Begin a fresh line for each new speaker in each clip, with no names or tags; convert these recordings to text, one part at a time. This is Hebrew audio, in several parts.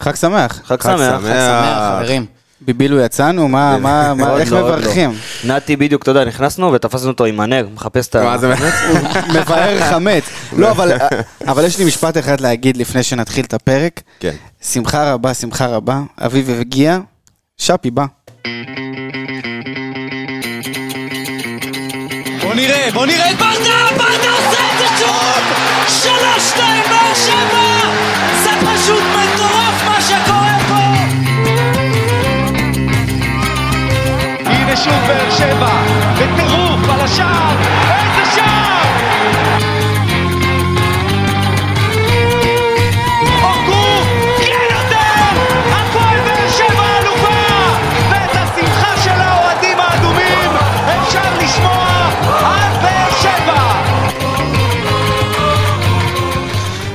חג שמח.
חג
חג
שמח.
שמח.
שמח, חברים. בבילו יצאנו, מה, מה, מה,
עוד
איך
לא, עוד
מברכים?
לא. נתי בדיוק, אתה יודע, נכנסנו ותפסנו אותו עם הנר, מחפש את ה...
מה זה?
מבאר חמץ. לא, אבל, אבל יש לי משפט אחד להגיד לפני שנתחיל את הפרק.
כן.
שמחה רבה, שמחה רבה. אביב הגיע, שפי בא.
בוא נראה, בוא נראה את ברדה, ברדה עושה את זה שוב! שלוש, שתיים, באר שבע! זה פשוט מטורף מה שקורה פה! הנה שוב באר שבע, בטירוף על השער! איזה שער! אורגו, כן יותר! הפועל באר שבע אלופה! ואת השמחה של האוהדים האדומים אפשר לשמוע על באר שבע!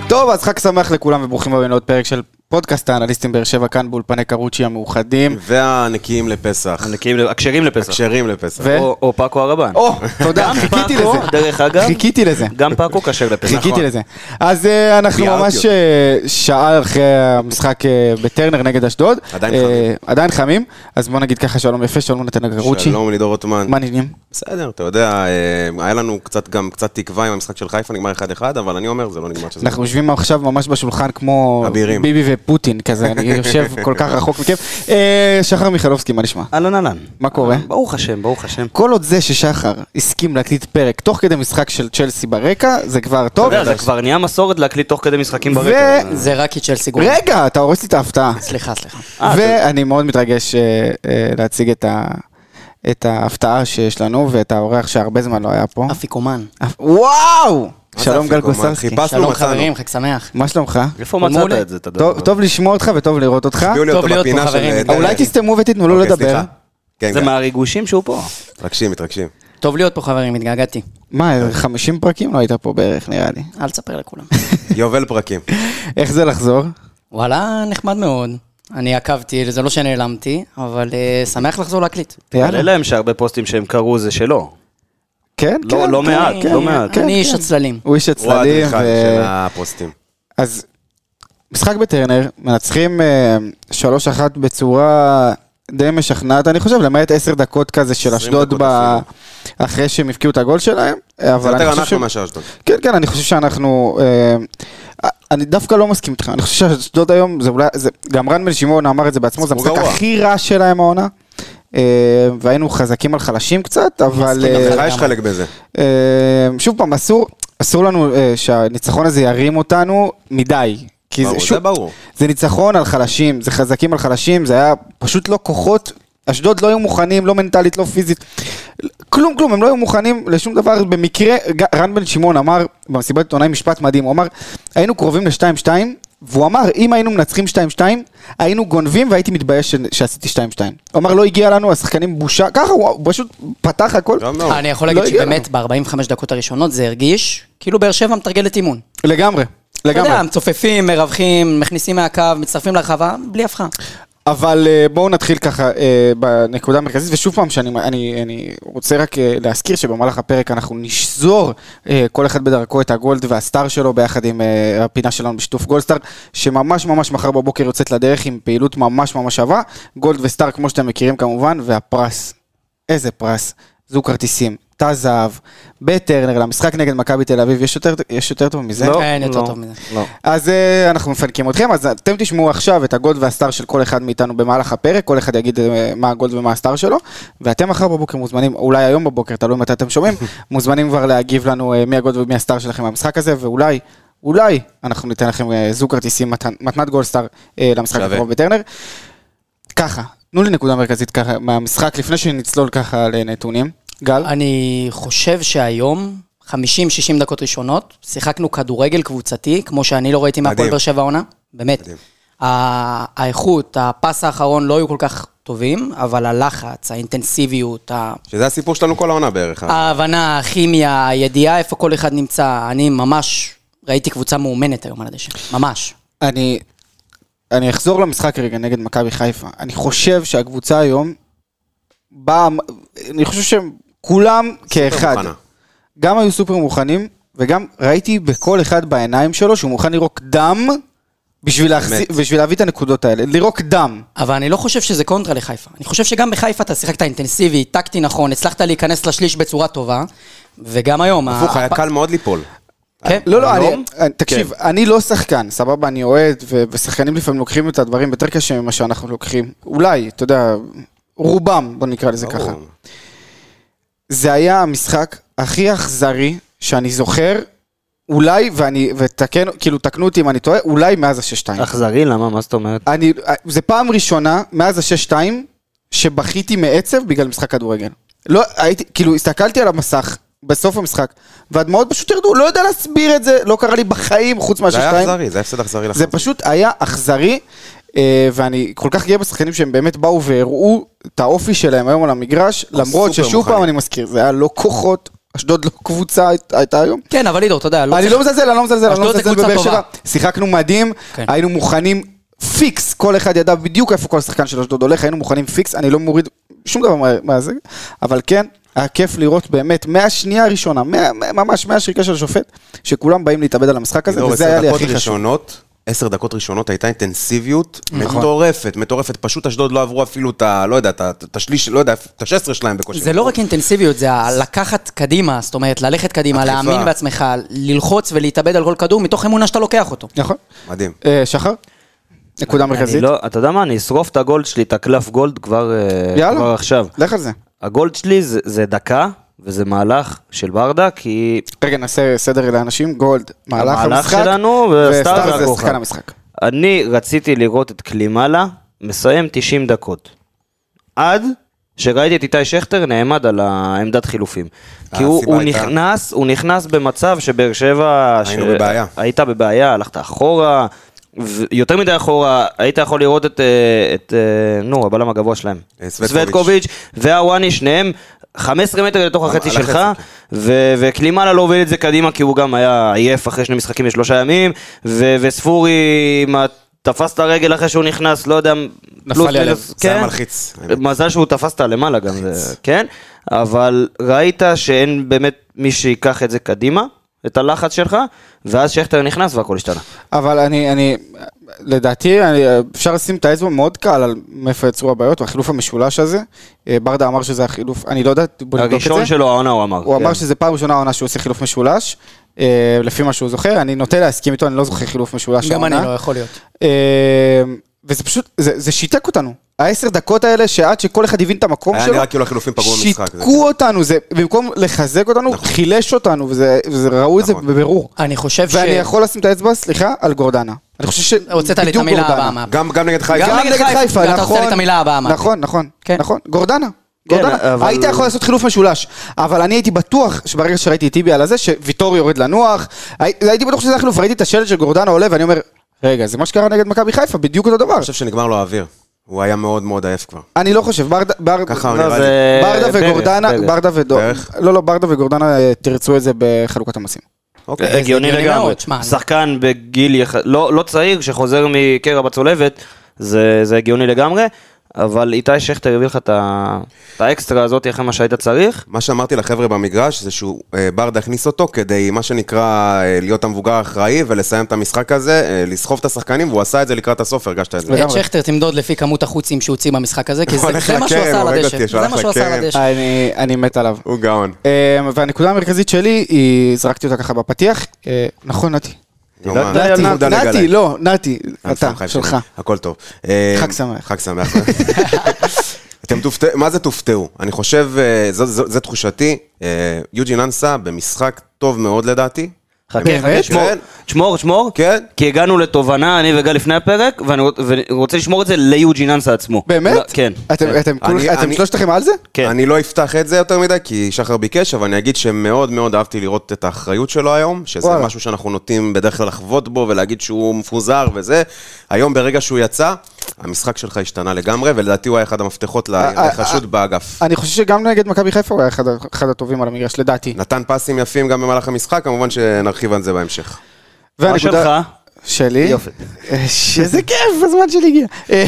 טוב, אז חג שמח לכולם וברוכים הבאים לעוד פרק של פודקאסט האנליסטים באר שבע כאן באולפני קרוצ'י המאוחדים.
והנקיים לפסח.
נקיים ל- הכשרים לפסח.
כשרים לפסח.
ו-
או או פאקו הרבן.
או, תודה,
גם
חיכיתי
פאקו,
לזה.
דרך אגב,
חיכיתי לזה.
גם פאקו כשר לפסח.
חיכיתי
נכון.
לזה. אז אה, אנחנו
ביארתי
ממש
אותו.
אה, שעה אחרי המשחק אה, בטרנר נגד אשדוד.
עדיין
אה,
חמים.
עדיין חמים. אז בוא נגיד ככה שלום יפה, שלום נתן גרוצ'י.
שלום לידור רוטמן.
מה העניינים?
בסדר, אתה יודע, אה, היה לנו קצת גם קצת תקווה עם המשחק של חיפה, נגמר 1-1, אבל אני אומר, זה לא נגמר שזה...
אנחנו יושבים עכשיו ממש בשולחן כמו
אבירים.
ביבי ופוטין כזה, אני יושב כל כך רחוק מכם. אה, שחר מיכלובסקי, מה נשמע?
אהלן אהלן.
מה קורה?
אה, ברוך השם, ברוך השם.
כל עוד זה ששחר הסכים להקליט פרק תוך כדי משחק של צ'לסי ברקע, זה כבר
אתה
טוב.
יודע, זה כבר נהיה מסורת להקליט תוך כדי משחקים
ו-
ברקע.
זה רק את צ'לסי גורן.
רגע, אתה הורס לי את ההפתעה.
סליחה, סליחה.
אה,
ואני מאוד מתרגש אה, אה, להציג את ה- את ההפתעה שיש לנו ואת האורח שהרבה זמן לא היה פה.
אפיקומן.
אף- וואו!
זה
שלום גל
אפיקומן?
גוסרסקי.
חיפשנו,
שלום
מצאנו.
חברים, חג שמח.
מה שלומך?
איפה
אמרו
מצאת
לי-
את זה, אתה יודע?
טוב- טוב לשמוע אותך וטוב לראות אותך.
הביאו לי
טוב
אותו
להיות פה,
בפינה של...
חברים.
אה,
אולי תסתמו ותיתנו לו
אוקיי,
לדבר.
סליחה. כן,
זה
כן.
מהריגושים שהוא פה.
מתרגשים, מתרגשים.
טוב להיות פה חברים, התגעגעתי.
מה, 50 פרקים לא היית פה בערך, נראה לי.
אל תספר לכולם.
יובל פרקים.
איך זה לחזור?
וואלה, נחמד מאוד. אני עקבתי, זה לא שנעלמתי, אבל אה, שמח לחזור להקליט.
יאללה.
תעלה להם שהרבה פוסטים שהם קראו זה שלו.
כן,
לא-
כן.
לא
כן.
מעט,
אני-
לא מעט.
כן,
אני איש
כן.
הצללים.
הוא איש
הוא
הצדדים.
האדריכל
ו-
של הפוסטים.
אז משחק בטרנר, מנצחים אה, 3-1 בצורה די משכנעת, אני חושב, למעט 10 דקות כזה של
20
אשדוד
דקות
ב... אחרי שהם הבקיעו את הגול שלהם,
זה
אבל אני
יותר
חושב
אנחנו
ש...
מאשר אשדוד.
כן, כן, אני חושב שאנחנו... אה, אני דווקא לא מסכים איתך, אני חושב שאשדוד היום, זה אולי... זה... גם רן בן שמעון אמר את זה בעצמו, זה
הוא
המשחק
גרוע.
הכי רע שלהם העונה. אה, והיינו חזקים על חלשים קצת, אבל...
מסכים,
אה,
גם
לך יש חלק בזה.
אה, שוב פעם, אסור, אסור לנו אה, שהניצחון הזה ירים אותנו מדי. כי
ברור,
זה,
זה
שוב,
ברור.
זה ניצחון על חלשים, זה חזקים על חלשים, זה היה פשוט לא כוחות. אשדוד לא היו מוכנים, לא מנטלית, לא פיזית. כלום, כלום, הם לא היו מוכנים לשום דבר. במקרה, ג- רן בן שמעון אמר במסיבת עיתונאים משפט מדהים, הוא אמר, היינו קרובים ל-2-2, והוא אמר, אם היינו מנצחים 2-2, היינו גונבים והייתי מתבייש ש- שעשיתי 2-2. הוא אמר, לא הגיע לנו, השחקנים בושה, ככה, הוא הוא פשוט פתח הכל.
גם לא.
אני יכול
לא
להגיד
הגיע
שבאמת, ב-45 דקות הראשונות זה הרגיש כאילו באר שבע מתרגלת אימון.
לגמרי,
אתה יודע,
לגמרי.
מצופפים, מרווחים, מכניסים מהקו, מצטרפים לרחבה, בלי הפכה.
אבל אה, בואו נתחיל ככה אה, בנקודה המרכזית, ושוב פעם, שאני אני, אני רוצה רק אה, להזכיר שבמהלך הפרק אנחנו נשזור אה, כל אחד בדרכו את הגולד והסטאר שלו ביחד עם אה, הפינה שלנו בשיתוף גולדסטאר, שממש ממש מחר בבוקר יוצאת לדרך עם פעילות ממש ממש שווה, גולד וסטאר כמו שאתם מכירים כמובן, והפרס, איזה פרס, זוג כרטיסים, תא זהב, בטרנר למשחק נגד מכבי תל אביב, יש יותר, יש יותר טוב מזה?
אין יותר
לא,
טוב מזה.
לא.
אז אה, אנחנו מפנקים אתכם, אז אתם תשמעו עכשיו את הגולד והסטאר של כל אחד מאיתנו במהלך הפרק, כל אחד יגיד אה, מה הגולד ומה הסטאר שלו, ואתם מחר בבוקר מוזמנים, אולי היום בבוקר, תלוי מתי אתם שומעים, מוזמנים כבר להגיב לנו אה, מי הגולד ומי הסטאר שלכם במשחק הזה, ואולי, אולי, אנחנו ניתן לכם אה, זוג כרטיסים, מתן- מתנת גולד סטאר אה, למשחק
שווה.
הקרוב בטרנר. ככה, תנו לי נקודה מרכזית ככה מהמשחק, לפני שנצלול ככה לנתונים. גל?
אני חושב שהיום, 50-60 דקות ראשונות, שיחקנו כדורגל קבוצתי, כמו שאני לא ראיתי מהפועל
מדהים.
באר שבע העונה, באמת. ה- האיכות, הפס האחרון לא היו כל כך טובים, אבל הלחץ, האינטנסיביות, ה-
שזה הסיפור שלנו כל העונה בערך. אה?
ההבנה, הכימיה, הידיעה איפה כל אחד נמצא, אני ממש ראיתי קבוצה מאומנת היום על הדשא, ממש.
אני, אני אחזור למשחק רגע נגד מכבי חיפה. אני חושב שהקבוצה היום באה, אני חושב שהם כולם כאחד.
מוכנה.
גם היו סופר מוכנים, וגם ראיתי בכל אחד בעיניים שלו שהוא מוכן לירוק דם בשביל, להחזיק, בשביל להביא את הנקודות האלה, לירוק דם.
אבל אני לא חושב שזה קונטרה לחיפה. אני חושב שגם בחיפה אתה שיחקת אינטנסיבי, טקטי נכון, הצלחת להיכנס לשליש בצורה טובה, וגם היום...
הפוך,
ה-
היה
אה,
הפ-
קל מאוד ליפול.
כן,
לא, לא,
היום?
אני, אני- תקשיב,
כן.
אני לא שחקן, סבבה, אני אוהד, ו- ושחקנים לפעמים לוקחים את הדברים יותר קשה ממה שאנחנו לוקחים. אולי, אתה יודע, רובם, בוא נקרא לזה ככה.
ברור.
זה היה המשחק הכי אכזרי שאני זוכר, אולי, ואני, ותקן, כאילו, תקנו אותי אם אני טועה, אולי מאז השש-שתיים.
אכזרי, למה? מה זאת אומרת?
אני, זה פעם ראשונה מאז השש-שתיים שבכיתי מעצב בגלל משחק כדורגל. לא, הייתי, כאילו, הסתכלתי על המסך בסוף המשחק, והדמעות פשוט ירדו, לא יודע להסביר את זה, לא קרה לי בחיים חוץ
זה היה
מהשש-שתיים.
אכזרי, זה היה הפסד אכזרי
זה
נכון.
לחלוטין.
פשוט היה אכזרי, אה, ואני כל כך גאה בשחקנים שהם באמת באו והראו את האופי שלהם היום על המגרש, למרות
סופר
ששוב פעם
מוכנים.
אני מזכיר, זה היה לא כוחות, אשדוד לא קבוצה היית- הייתה היום.
כן, אבל לידור, אתה יודע,
אני
צריך-
לא מזלזל, אני לא מזלזל, אני לא
אשדוד זה
מזלזל
קבוצה
בבאר
טובה.
שבע. שיחקנו מדהים,
כן.
היינו מוכנים פיקס, כל אחד ידע בדיוק איפה כל שחקן של אשדוד הולך, היינו מוכנים פיקס, אני לא מוריד שום דבר מה- מה זה, אבל כן, היה כיף לראות באמת, מהשנייה הראשונה, מה- מה- ממש מהשריקה של השופט, שכולם באים להתאבד על המשחק
לא,
הזה,
לידור,
וזה
לא, עשר
היה לי
דקות
הכי חשוב.
ראשונות, עשר דקות ראשונות הייתה אינטנסיביות
נכון.
מטורפת, מטורפת. פשוט אשדוד לא עברו אפילו את ה... לא יודע, את ה- את השליש, לא יודע, את ה-16 שלהם בקושי.
זה לא רק אינטנסיביות, זה ה- לקחת קדימה, זאת אומרת, ללכת קדימה,
הדחיפה.
להאמין בעצמך, ללחוץ ולהתאבד על כל כדור מתוך אמונה שאתה לוקח אותו.
נכון.
מדהים.
כן.
אה, שחר? נקודה
אני
מרכזית?
לא, אתה יודע מה, אני אשרוף את הגולד שלי, את הקלף גולד כבר, אה, כבר
יאללה,
עכשיו.
לך על זה.
הגולד שלי זה, זה דקה, וזה מהלך של ברדה, כי
רגע, נעשה סדר לאנשים, גולד, מהלך המשחק.
המהלך שלנו, וסטאר זה
זה
הכוכב.
שחקן המשחק.
אני רציתי לראות את קלימלה מסיים 90 דקות. עד שראיתי את איתי שכטר נעמד על העמדת חילופים. כי הוא,
הסיבה
הוא
הייתה-
נכנס, הוא נכנס במצב שבאר שבע...
היינו בבעיה.
הייתה בבעיה, הלכת אחורה, ו- יותר מדי אחורה, היית יכול לראות את, אה, את אה, נו, הבלם הגבוה שלהם.
אה, סווטקוביץ'.
סווטקוביץ' והוואני, שניהם 15 מטר לתוך החצי
לחצי,
שלך,
כן.
ו- וקלימאלה לא הוביל את זה קדימה, כי הוא גם היה עייף אחרי שני משחקים בשלושה ימים, ו- וספורי מה- תפס את הרגל אחרי שהוא נכנס, לא יודע,
נפל
פלוס
לי הלב.
מינוס,
זה היה
כן.
מלחיץ. האמת.
מזל שהוא תפס את הלמעלה גם, זה- כן? אבל ראית שאין באמת מי שיקח את זה קדימה, את הלחץ שלך, ואז שכטר נכנס והכל השתנה.
אבל אני, אני, לדעתי, אני, אפשר לשים את האצבע מאוד קל על מאיפה יצרו הבעיות, החילוף המשולש הזה. אה, ברדה אמר שזה החילוף, אני לא יודע, בוא נבדוק את זה.
הראשון שלו העונה הוא אמר.
הוא
אוקיי.
כן.
אמר שזה פעם ראשונה העונה שהוא עושה חילוף משולש, אה, לפי מה שהוא זוכר, אני נוטה להסכים איתו, אני לא זוכר חילוף משולש
גם אני
העונה.
לא יכול להיות.
אה, וזה פשוט, זה, זה שיתק אותנו. העשר דקות האלה, שעד שכל אחד הבין את המקום
היה
שלו,
נראה כאילו החילופים פגעו במשחק. זה-
כאילו.
שיתקו אותנו, זה, במקום לחזק אותנו, חילש אותנו, וזה, וזה- ראו את זה
נכון.
בבירור.
נכון. אני חושב ש...
ואני יכול לשים את האצבע, סליחה, על גורדנה. אני חושב ש...
הוצאת לי את
בדיוק
המילה
גורדנה.
הבאה מה...
גם גם נגד חיפה.
גם
נגד
נגד
חיפה,
חיפה,
ואתה
נכון.
רוצה את המילה הבאה, אמרתי.
נכון, נכון,
כן.
נכון. גורדנה.
כן,
גורדנה.
אבל-
היית יכול לעשות חילוף משולש, אבל אני הייתי בטוח שברגע שראיתי את טיבי על הזה, שוויטור יורד לנוח, הי- הייתי בטוח שזה החילוף, ראיתי את השלט של גורדנה עולה, ואני אומר, רגע, זה מה שקרה נגד מכבי חיפה, בדיוק אותו דבר.
אני חושב שנגמר לו האוויר. הוא היה מאוד מאוד עייף כבר.
אני לא חושב, ברדה... בר-
ככה הוא
לא,
נראה לי.
זה-
ברדה
פרץ,
וגורדנה,
פרץ.
ברדה וגורדנה,
בערך.
לא, לא, ברדה וגורדנה אה, תרצו את זה בחלוקת המסים.
אה,
אוקיי.
הגיוני
הגיוני
לגמרי.
מאוד, שמע, אני-
שחקן בגיל יח- לא לא צעיר שחוזר מקרע בצולבת, זה זה הגיוני לגמרי, אבל איתי שכטר הביא לך את ה- את האקסטרה הזאת אחרי מה שהיית צריך.
מה שאמרתי לחבר'ה במגרש זה שהוא, אה, ברדה הכניס אותו כדי, מה שנקרא, אה, להיות המבוגר האחראי ולסיים את המשחק הזה, אה, לסחוב את השחקנים, והוא עשה את זה לקראת הסוף, הרגשת את זה.
את אה, שכטר תמדוד לפי כמות החוצים שהוציא במשחק הזה, כי
הוא
זה
נכון, הולך
זה מה שהוא
לקרן,
עשה על
הורג
הדשא.
אותי,
זה מה
שהלך
שהוא עשה על
לקרן.
הדשא.
אני- אני מת עליו.
הוא גאון.
אמ, והנקודה המרכזית שלי היא, זרקתי אותה ככה בפתיח, אה, נכון נתי?
לא-
נו,
דילגת
מה?
לי על
נתי,
נתי.
מודע לגלי.
נתי, לא, נתי, אתה,
אלפיים חיים
שלך.
שלי. הכל טוב. אה,
חג שמח.
חג שמח. אתם תופתעו, מה זה תופתעו? אני חושב, אה, זו- זו זו תחושתי, אה, יוג'ין אנסה במשחק טוב מאוד לדעתי.
חכה,
באמת?
חכה, שמור,
כן.
שמור, שמור,
כן.
כי הגענו לתובנה, אני וגל לפני הפרק, ואני רוצ- ואני רוצה לשמור את זה ליוג'ין אנסה עצמו.
באמת?
לא, כן.
אתם- אתם כול-
אני-
אתם
אני-
שלושתכם על זה?
כן.
אני לא אפתח את זה יותר מדי, כי שחר ביקש, אבל אני אגיד שמאוד מאוד אהבתי לראות את האחריות שלו היום, שזה
וואלה.
משהו שאנחנו נוטים בדרך כלל לחוות בו, ולהגיד שהוא מפוזר וזה. היום ברגע שהוא יצא, המשחק שלך השתנה לגמרי, ולדעתי הוא היה אחד המפתחות
אה,
לחשוד באגף.
אני חושב שגם נגד מכבי חיפה הוא היה אחד ה- אחד הטובים על המגרש, לדעתי.
נתן פסים יפים גם במהלך המשחק, כמובן שנרחיב על זה בהמשך.
מה שלך?
שלי?
יופי.
אה, שזה כיף, הזמן שלי הגיע. אה,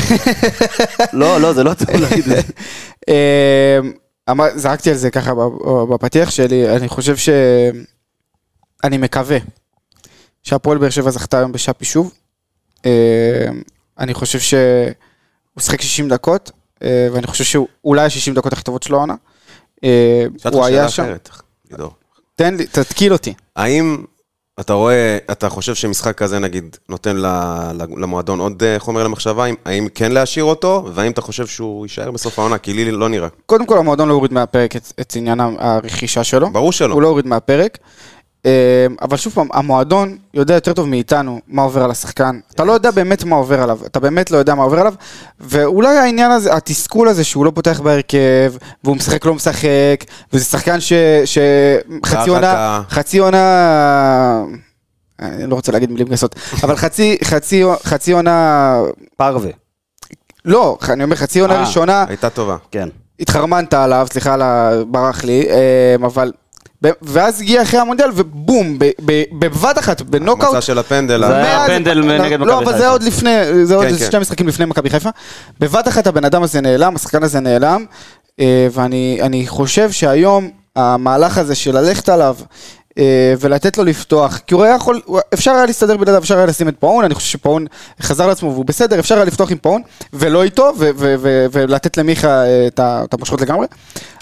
לא, לא, זה לא טוב להגיד את זה.
אמ, אמר- זרקתי על זה ככה ב- בפתיח שלי, אני חושב ש... אני מקווה שהפועל באר שבע זכתה היום בשאפי שוב. אה, אני חושב שהוא שיחק 60 דקות, אה, ואני חושב שהוא אולי ה-60 דקות הכי טובות שלו העונה. אה,
שאלתי
הוא
אותך שאלה
היה שם,
אחרת, לידור.
תן לי, תתקיל אותי.
האם אתה רואה, אתה חושב שמשחק כזה נגיד נותן ל- ל- למועדון עוד אה, חומר למחשבה, האם- האם כן להשאיר אותו, והאם אתה חושב שהוא יישאר בסוף העונה? כי לי לא נראה.
קודם כל, המועדון לא הוריד מהפרק את, את עניין הרכישה שלו.
ברור שלא.
הוא לא הוריד מהפרק. אמ, אבל שוב פעם, המועדון יודע יותר טוב מאיתנו מה עובר על השחקן. אתה לא יודע באמת מה עובר עליו, אתה באמת לא יודע מה עובר עליו, ואולי העניין הזה, התסכול הזה שהוא לא פותח בהרכב, והוא משחק לא משחק, וזה שחקן ש... ש- חצי עונה,
דא.
חצי עונה... אני לא רוצה להגיד מילים גסות, אבל חצי, חצי, חצי עונה...
פרווה,
לא, אני אומר חצי עונה
אה,
ראשונה,
הייתה טובה.
כן.
התחרמנת עליו, סליחה על ה... ברח לי, אמ, אבל... ב- ואז הגיע אחרי המונדיאל, ובום, ב- ב- בבת אחת,
מצא
בנוקאוט.
של הפנדל. אה,
זה
ה-
היה
מאז-
הפנדל
לא,
נגד מכבי
לא, אבל זה
חיפה.
עוד לפני, זה עוד
כן, כן.
שני משחקים לפני מכבי חיפה. בבת אחת הבן אדם הזה נעלם, השחקן הזה נעלם, אה, ואני אני חושב שהיום המהלך הזה של ללכת עליו אה, ולתת לו לפתוח, כי הוא היה יכול, הוא- אפשר היה להסתדר בלעדיו, אפשר היה לשים את פאון, אני חושב שפאון חזר לעצמו והוא בסדר, אפשר היה לפתוח עם פאון, ולא איתו, ו- ו- ו- ולתת למיכה אה, את ה- את המושכות לגמרי.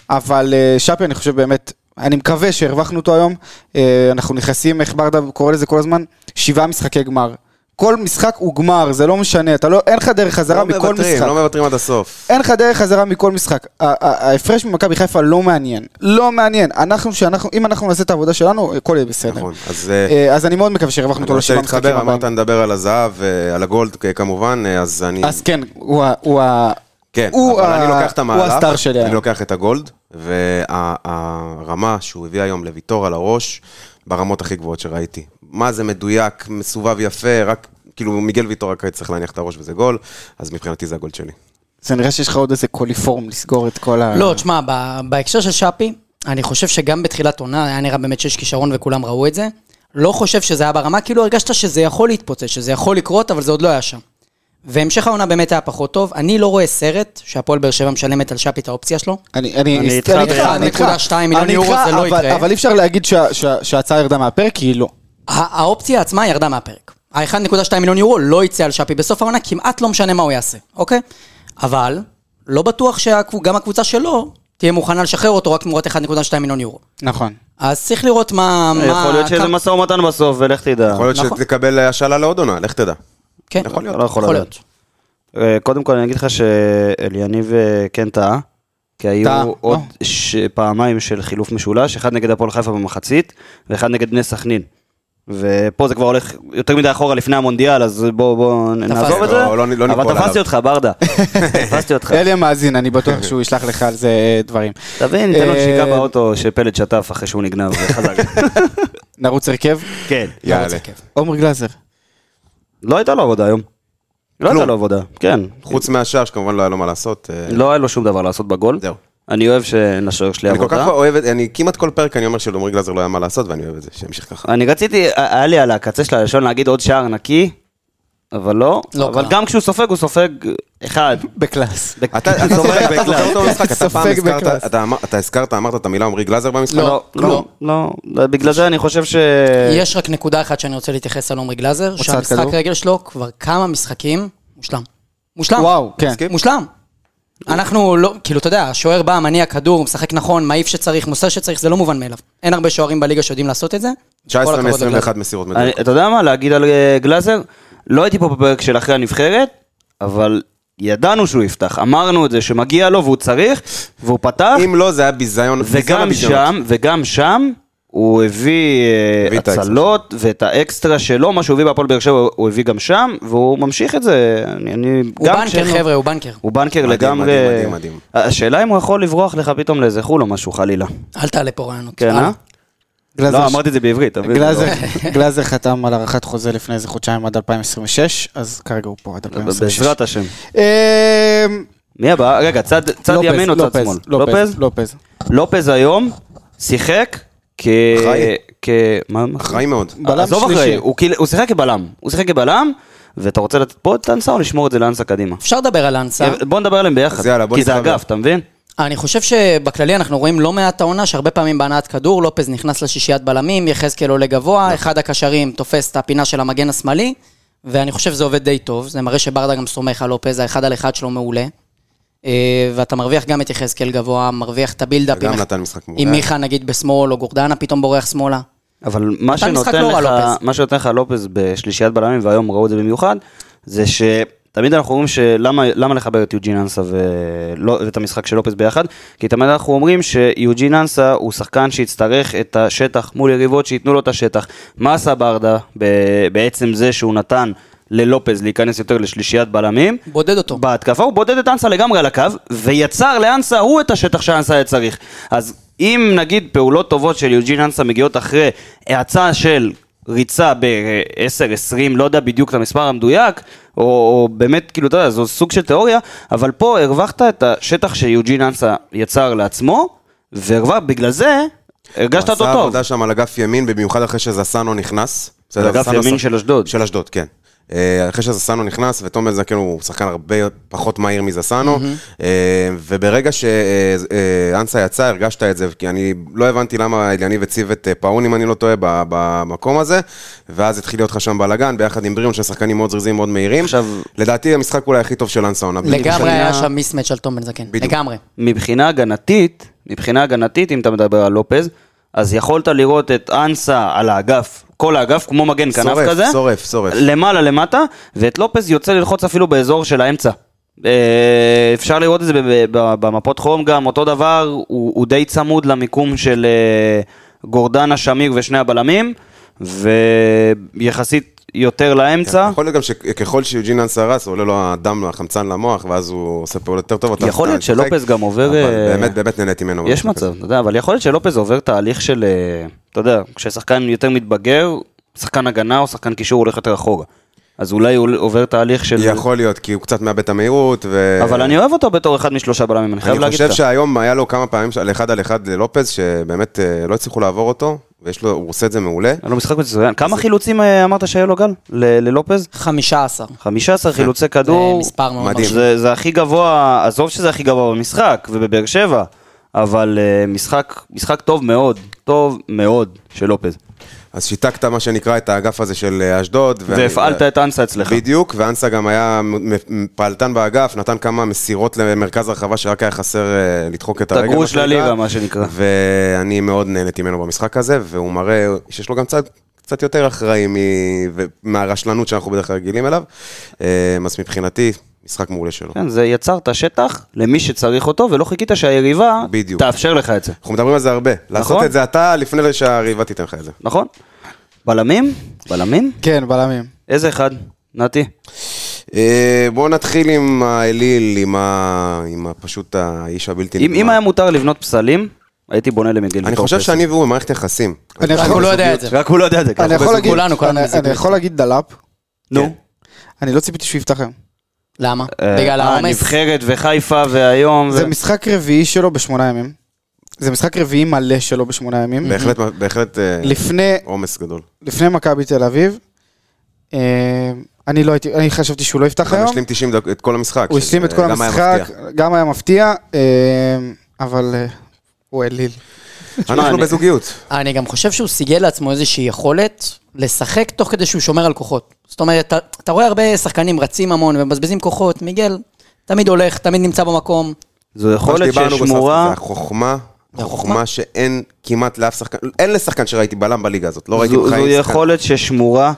אבל אה, שפי, אני חושב באמת, אני מקווה שהרווחנו אותו היום. אה, אנחנו נכנסים, איך ברדה קורא לזה כל הזמן? שבעה משחקי גמר. כל משחק הוא גמר, זה לא משנה, אתה לא, אין לך דרך חזרה
לא
מכל
מוותרים,
משחק.
לא מוותרים עד הסוף.
אין לך דרך חזרה מכל משחק. ה- ה- ההפרש ממכבי חיפה לא מעניין. לא מעניין. אנחנו, שאנחנו, אם אנחנו נעשה את העבודה שלנו, הכל יהיה בסדר.
נכון, אז... אה,
אה, אז אני מאוד מקווה שהרווחנו
אני
אותו
רוצה
לשבעה משחקים
להתחבר, אמרת
הבאים.
נדבר על הזהב, אה, על הגולד אה, כמובן, אה, אז אני...
אז כן, הוא ה... הוא ה...
כן,
הוא
אבל
ה-
אני לוקח את המהלך,
הוא הסטאר שלי.
אני לוקח את הגולד, והרמה שהוא הביא היום לוויטור על הראש, ברמות הכי גבוהות שראיתי. מה זה מדויק, מסובב יפה, רק, כאילו, מיגל ויטור רק היה צריך להניח את הראש וזה גול, אז מבחינתי זה הגולד שלי.
זה נראה שיש לך עוד איזה קוליפורם לסגור את כל ה...
לא, תשמע, ב- בהקשר של שפי, אני חושב שגם בתחילת עונה היה נראה באמת שיש כישרון וכולם ראו את זה. לא חושב שזה היה ברמה, כאילו הרגשת שזה יכול להתפוצץ, שזה יכול לקרות, אבל זה עוד לא היה שם. והמשך העונה באמת היה פחות טוב. אני לא רואה סרט שהפועל באר שבע משלמת על שפי את האופציה שלו.
אני אני
אני איתך,
אני איתך. 1.2 מיליון
אני
יורו,
איתך,
זה לא
אבל-
יקרה.
אבל אי אפשר להגיד שה- שה- שההצעה ירדה מהפרק, כי היא לא.
הא- האופציה עצמה ירדה מהפרק. ה-1.2 מיליון יורו לא יצא על שפי בסוף העונה, כמעט לא משנה מה הוא יעשה, אוקיי? אבל לא בטוח שגם הקבוצה שלו תהיה מוכנה לשחרר אותו רק תמורת 1.2 מיליון יורו.
נכון.
אז צריך לראות מה... מה-
אה, יכול להיות שזה משא ומתן בסוף, ולך תדע.
יכול להיות
נכון.
שתקבל השאלה לעוד עונה, לך תדע.
כן,
יכול להיות.
לא יכול לדעת. אה, קודם כל אני אגיד לך שאליניב אה, כן טעה, כי
טעה,
היו
לא.
עוד ש- פעמיים של חילוף משולש, אחד נגד הפועל חיפה במחצית, ואחד נגד בני סכנין. ופה זה כבר הולך יותר מדי אחורה לפני המונדיאל, אז בוא, בוא נעזוב
לא,
את זה.
לא, לא ניפול
אבל
עליו.
תפסתי אותך, ברדה. תפסתי אותך.
אלי המאזין, אני בטוח שהוא ישלח לך על זה אה, דברים.
תבין, ניתן לו
אה,
נשיקה באוטו שפלד שטף אחרי שהוא נגנב, חזק.
נרוץ הרכב?
כן.
יאללה.
עומר גלאזר.
לא הייתה לו עבודה היום. לא הייתה
כלום.
לו עבודה, כן.
חוץ מהשאר, שכמובן לא היה לו מה לעשות. אה,
לא היה לו שום דבר לעשות בגול.
זהו.
אני אוהב שלשוער שלי
אני כל
עבודה.
כך אוהב את, אני כמעט כל פרק אני אומר שלעומרי גלאזר לא היה מה לעשות, ואני אוהב את זה, שימשיך ככה.
אני רציתי, אה, היה לי על הקצה של הלשון להגיד עוד שער נקי, אבל לא.
לא
אבל
קרה.
גם כשהוא סופג, הוא סופג אחד. לא,
בקלאס.
בק-
אתה אתה זוכר אתה זוכר אותו במשחק, אתה פעם
ספק
הזכרת-
בקלאס.
אתה אמר- אתה הזכרת, אמרת את המילה עומרי גלאזר במשחק?
לא, לא, לא. בגלל זה אני חושב ש... אה,
יש רק נקודה אחת שאני רוצה להתייחס על עומרי גלאזר, שהמשחק
כדור.
רגל שלו כבר כמה משחקים, מושלם. מושלם.
וואו, כן.
מושלם. אנחנו לא, כאילו, אתה יודע, השוער בא, מניע כדור, משחק נכון, מעיף שצריך, מוסר שצריך, זה לא מובן מאליו. אין הרבה שוערים בליגה שיודעים לעשות את זה. כל
19
הכבוד לגלאזר.
מ-21 מסירות
אני-
מדויקות.
אתה יודע מה, להגיד על אה, גלאזר, לא הייתי פה בפרק של אחרי הנבחרת, אבל ידענו שהוא יפתח, אמרנו את זה, שמגיע לו והוא צריך, והוא פתח,
אם לא, זה היה ביזיון. ביזיון
וגם
הביזיונות.
שם, וגם שם, הוא הביא אה,
הביא את האקסטרה
הצלות ואת האקסטרה שלו, מה שהוא הביא בהפועל באר שבע הוא הביא גם שם, והוא ממשיך את זה. אני, אני,
הוא
גם
בנקר,
כשאין לו-
חבר'ה, הוא בנקר.
הוא בנקר
מדהים,
לגמרי.
מדהים, מדהים, מדהים.
השאלה אם הוא יכול לברוח לך פתאום לאיזה חול או משהו, חלילה.
אל תעלה פה רעיונות.
כן,
הלאה.
אה? לא, אמרתי את זה בעברית. לא. אבל-
גלאזר, גלאזר חתם על הארכת חוזה לפני איזה חודשיים עד 2026, אז כרגע הוא פה עד
לא,
2026.
בעזרת השם.
אמ,
מי הבא? רגע, צד צד
לופז,
ימין או צד
לופז,
שמאל?
לופז, לופז.
לופז היום שיחק כ...
אחראי.
כ... מה? מה?
אחראי מאוד.
בלם
עזוב
שלישי.
אחראי, הוא כאילו- הוא שיחק כבלם. הוא שיחק כבלם, ואתה רוצה לתת פה את האנסה או לשמור את זה לאנסה קדימה? אה,
אפשר לדבר על אנסה.
בוא נדבר עליהם
אז
ביחד,
יאללה, בוא
כי זה
נתחבר.
אגף, אתה מבין?
אני חושב שבכללי אנחנו רואים לא מעט העונה שהרבה פעמים בהנעת כדור, לופז נכנס לשישיית בלמים, יחזקאל עולה גבוה, אחד הקשרים תופס את הפינה של המגן השמאלי, ואני חושב שזה עובד די טוב, זה מראה שברדה גם סומך על לופז, האחד על אחד שלו מעולה. אה, ואתה מרוויח גם את יחזקאל גבוה, מרוויח את הבילדאפ.
וגם
עם-
נתן אה. משחק מעולה.
עם מיכה נגיד בשמאל, או גורדנה פתאום בורח שמאלה.
אבל מה
נתן משחק
שנותן,
לא רע,
לך,
לופז.
מה שנותן לך לופז בשלישיית בלמים, והיום ראו את זה במיוחד, זה שתמיד אנחנו אומרים שלמה למה לחבר את יוג'ין אנסה ולא, ואת המשחק של לופז ביחד? כי תמיד אנחנו אומרים שיוג'ין אנסה הוא שחקן שיצטרך את השטח מול יריבות שייתנו לו את השטח. מה עשה ברדה ב- בעצם זה שהוא נתן ללופז להיכנס יותר לשלישיית בלמים?
בודד אותו.
בהתקפה הוא בודד את אנסה לגמרי על הקו, ויצר לאנסה הוא את השטח שאנסה היה צריך. אז אם נגיד פעולות טובות של יוג'ין אנסה מגיעות אחרי האצה של ריצה ב-10, 20, לא יודע בדיוק את המספר המדויק, או, או באמת, כאילו, אתה יודע, זו סוג של תיאוריה, אבל פה הרווחת את השטח שיוג'ין אנסה יצר לעצמו, ובגלל זה הרגשת אותו
הוא עשה
טוב.
עבודה שם על אגף ימין, במיוחד אחרי שזסנו נכנס. בסדר,
אגף
זסנו
ימין
שח-
של אשדוד.
של אשדוד, כן. אה, אחרי שזסנו נכנס, ותומר זקן הוא שחקן הרבה פחות מהיר מזסנו, אה, וברגע שאנסה יצא, הרגשת את זה, כי אני לא הבנתי למה אליניב הציב את אה, פאון, אם אני לא טועה, ב- במקום הזה, ואז התחיל להיות לך שם בלאגן, ביחד עם בריאון, שהם שחקנים מאוד זריזים, מאוד מהירים.
עכשיו-
לדעתי המשחק אולי הכי טוב של אנסה עונה.
לגמרי
שנייה-
היה שם מיסמץ' על תום בן זקן,
בדיוק.
לגמרי.
מבחינה הגנתית, מבחינה הגנתית, אם אתה מדבר על לופז, אז יכולת לראות את אנסה על האגף, כל האגף, כמו מגן כנף
שורף,
כזה.
שורף, שורף.
למעלה, למטה, ואת לופז יוצא ללחוץ אפילו באזור של האמצע. אה, אפשר לראות את זה ב- ב- ב- במפות חום גם, אותו דבר, הוא, הוא די צמוד למיקום של אה, גורדנה, שמיר ושני הבלמים, ויחסית יותר לאמצע.
יכול להיות גם שככל שיוג'ין אנסה רץ, עולה לו הדם, החמצן למוח, ואז הוא עושה פעולות יותר טובות.
יכול להיות
אתה משחק,
שלופז גם עובר,
אבל
אה,
באמת, באמת נהניתי
יש
ממנו. במשחק הזה.
מצב, אתה יודע, אבל יכול להיות שלופז עובר תהליך של, אה, אתה יודע, כששחקן יותר מתבגר, שחקן הגנה או שחקן קישור הולך יותר אחורה. אז אולי הוא עובר תהליך של...
יכול להיות, כי הוא קצת מאבד את המהירות, ו...
אבל אני אוהב אותו בתור אחד משלושה בלמים, אני חייב
אני
להגיד
חושב
לך.
שהיום היה לו כמה פעמים על אחד על אחד ללופז, שבאמת אה, לא הצליחו לעבור אותו, ויש לו, הוא עושה את זה מעולה.
היה לו לא משחק מצוין. כמה חילוצים אה, אמרת שהיו לו גל? ל- ללופז?
15.
15 חילוצי
זה
כדור.
מספר מאוד
כן. מדהים.
מרשים.
זה, זה הכי גבוה, עזוב שזה הכי גבוה במשחק, ובבאר שבע, אבל אה, משחק, משחק טוב מאוד, טוב מאוד של לופז.
אז שיתקת מה שנקרא את האגף הזה של אה, אשדוד. ואני-
והפעלת את אנסה אצלך.
בדיוק, ואנסה גם היה מ- מ- פעלתן באגף, נתן כמה מסירות למרכז הרחבה שרק היה חסר אה, לדחוק את
את
הרגל.
הגרוש
מה שנקרא.
ללירה, מה שנקרא.
ואני מאוד נהניתי ממנו במשחק הזה, והוא מראה שיש לו גם צד קצת יותר אחראי מ... ו- מהרשלנות שאנחנו בדרך כלל רגילים אליו. אה, אז מבחינתי, משחק מעולה שלו.
כן, זה יצרת שטח למי שצריך אותו, ולא חיכית שהיריבה
בדיוק.
תאפשר לך את זה,
אנחנו מדברים על זה הרבה. לעשות את זה אתה לפני שהריבה תיתן לך את זה.
נכון? בלמים? בלמים?
כן, בלמים.
איזה אחד? נתי.
אה, בואו נתחיל עם האליל, עם ה... עם ה- פשוט האיש הבלתי
אם אם היה מותר לבנות פסלים, הייתי בונה למיגל.
אני
ויטור
חושב
פסל.
שאני והוא במערכת יחסים.
אני
רק
יכול-
הוא לא יודע את זה.
רק הוא לא יודע את זה.
אני
ככה.
יכול להגיד-
כולנו, כולנו
אני-
בזוגיות.
אני יכול להגיד דלאפ,
נו.
אני לא ציפיתי שהוא יפתח היום.
למה?
אה,
בגלל
אה,
העומס?
נבחרת וחיפה והיום. ו-
זה משחק רביעי שלו בשמונה ימים. זה משחק רביעי מלא שלו בשמונה ימים.
בהחלט, בהחלט אה,
לפני
עומס גדול.
לפני מכבי תל אביב, אה, אני לא הייתי, אני חשבתי שהוא לא יפתח
הוא
היום.
השלים 90 דקות, את כל המשחק.
הוא השלים את
שזה
כל
גם היה
המשחק,
מפתיע.
גם היה מפתיע, אה, אבל אה, הוא אליל.
אנחנו
אני-
בזוגיות.
אני גם חושב שהוא סיגל לעצמו איזושהי יכולת לשחק תוך כדי שהוא שומר על כוחות. זאת אומרת, אתה- אתה רואה הרבה שחקנים רצים המון ומבזבזים כוחות, מיגל תמיד הולך, תמיד נמצא במקום.
זו
מה
יכולת
שדיברנו בסוף,
ששמורה,
זה החוכמה,
זה החוכמה.
חוכמה שאין כמעט לאף שחקן, אין לשחקן שראיתי בלם בליגה הזאת, לא ראיתי
זו זו
בחיים שחקן.
יכולת ששמורה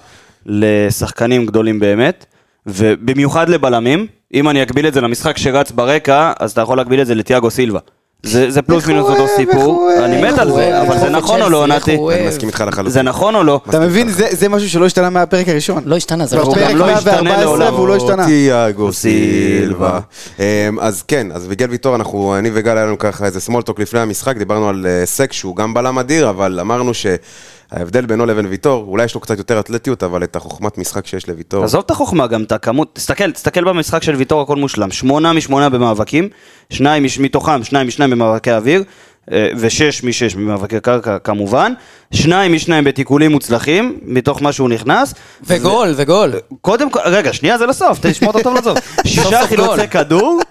לשחקנים גדולים באמת, ובמיוחד לבלמים. אם אני אקביל את זה למשחק שרץ ברקע, אז אתה יכול להקביל את זה לתיאגו סילבה. זה זה פלוס
איך הוא
מינוס אותו
אוהב, איך
סיפור,
הוא אוהב,
אני מת
איך
על
הוא
זה,
אוהב,
אבל זה
איך
נכון או לא,
צ'לסי, איך
נתי?
הוא
אני
אוהב.
מסכים איתך
זה
לחלוטין.
נכון או לא?
אתה מבין, זה זה משהו שלא השתנה מהפרק הראשון.
לא השתנה, זה לא
בפרק
השתנה.
גם לא ישתנה
114 והוא לא
לעולם.
השתנה.
תיאגו סילבה. אמ, אז כן, אז מיגל ויטור, אנחנו, אני וגל, היה לנו ככה איזה סמולטוק לפני המשחק, דיברנו על אה, סק שהוא גם בלם אדיר, אבל אמרנו שההבדל בינו לבין ויטור, אולי יש לו קצת יותר אתלטיות, אבל את החוכמת משחק שיש לויטור.
עזוב את החוכמה, גם את הכמות, תסתכל, תסתכל במשחק של ויטור, הכל מושלם. שמונה משמונה במאבקים, שניים מש- מתוכם, שניים משניים במאבקי אוויר, אה, ושש משש במאבקי קרקע כמובן, שניים משניים בתיקולים מוצלחים, מתוך מה שהוא נכנס.
וגול,
אה,
וגול.
קודם כל, רגע, שנייה, זה לא לסוף, תשמע אותו טוב לסוף.
סוף
שישה
גול.
חילוצי כדור,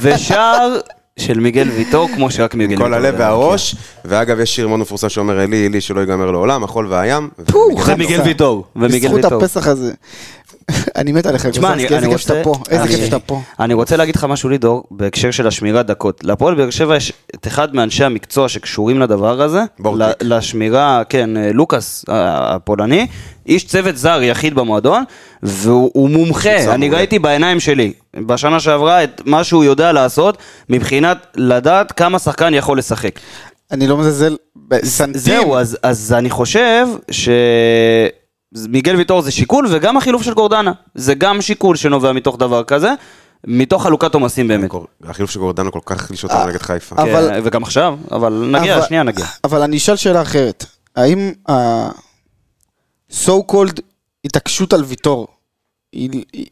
ושער של מיגל ויטור, כמו שרק מיגל
כל
ויטור.
הלב
יודע.
והראש, ואגב, יש שיר מאוד מפורסם שאומר, אלי, אלי, שלא ייגמר לעולם, החול והים. ומיגל
פו,
ומיגל ויטור, ומיגל
בזכות
ויטור.
הפסח הזה. אני מת עליך,
תשמע, אני,
גוזלסקי, איזה
אני
כיף
רוצה...
שאתה פה, איזה
אני-
כיף שאתה פה.
אני רוצה להגיד לך משהו, לידור, בהקשר של השמירת דקות. להפועל באר שבע יש את אחד מאנשי המקצוע שקשורים לדבר הזה.
בורטיק.
ל- לשמירה, כן, אה, לוקאס ה- הפולני, איש צוות זר יחיד במועדון, והוא הוא
זר
מומחה, אני
מעולה.
ראיתי בעיניים שלי, בשנה שעברה, את מה שהוא יודע לעשות, מבחינת לדעת כמה שחקן יכול לשחק.
אני לא מזלזל, בסנטים.
זהו, אז, אז אני חושב ש... מיגל ויטור זה שיקול, וגם החילוף של גורדנה. זה גם שיקול שנובע מתוך דבר כזה, מתוך חלוקת עומסים באמת.
החילוף של גורדנה כל כך החליש אותנו נגד חיפה.
אה, אבל-
כן, וגם עכשיו, אבל נגיע,
אבל-
שנייה נגיע.
אבל אני אשאל שאלה אחרת. האם ה-so called התעקשות על ויטור, היא, היא,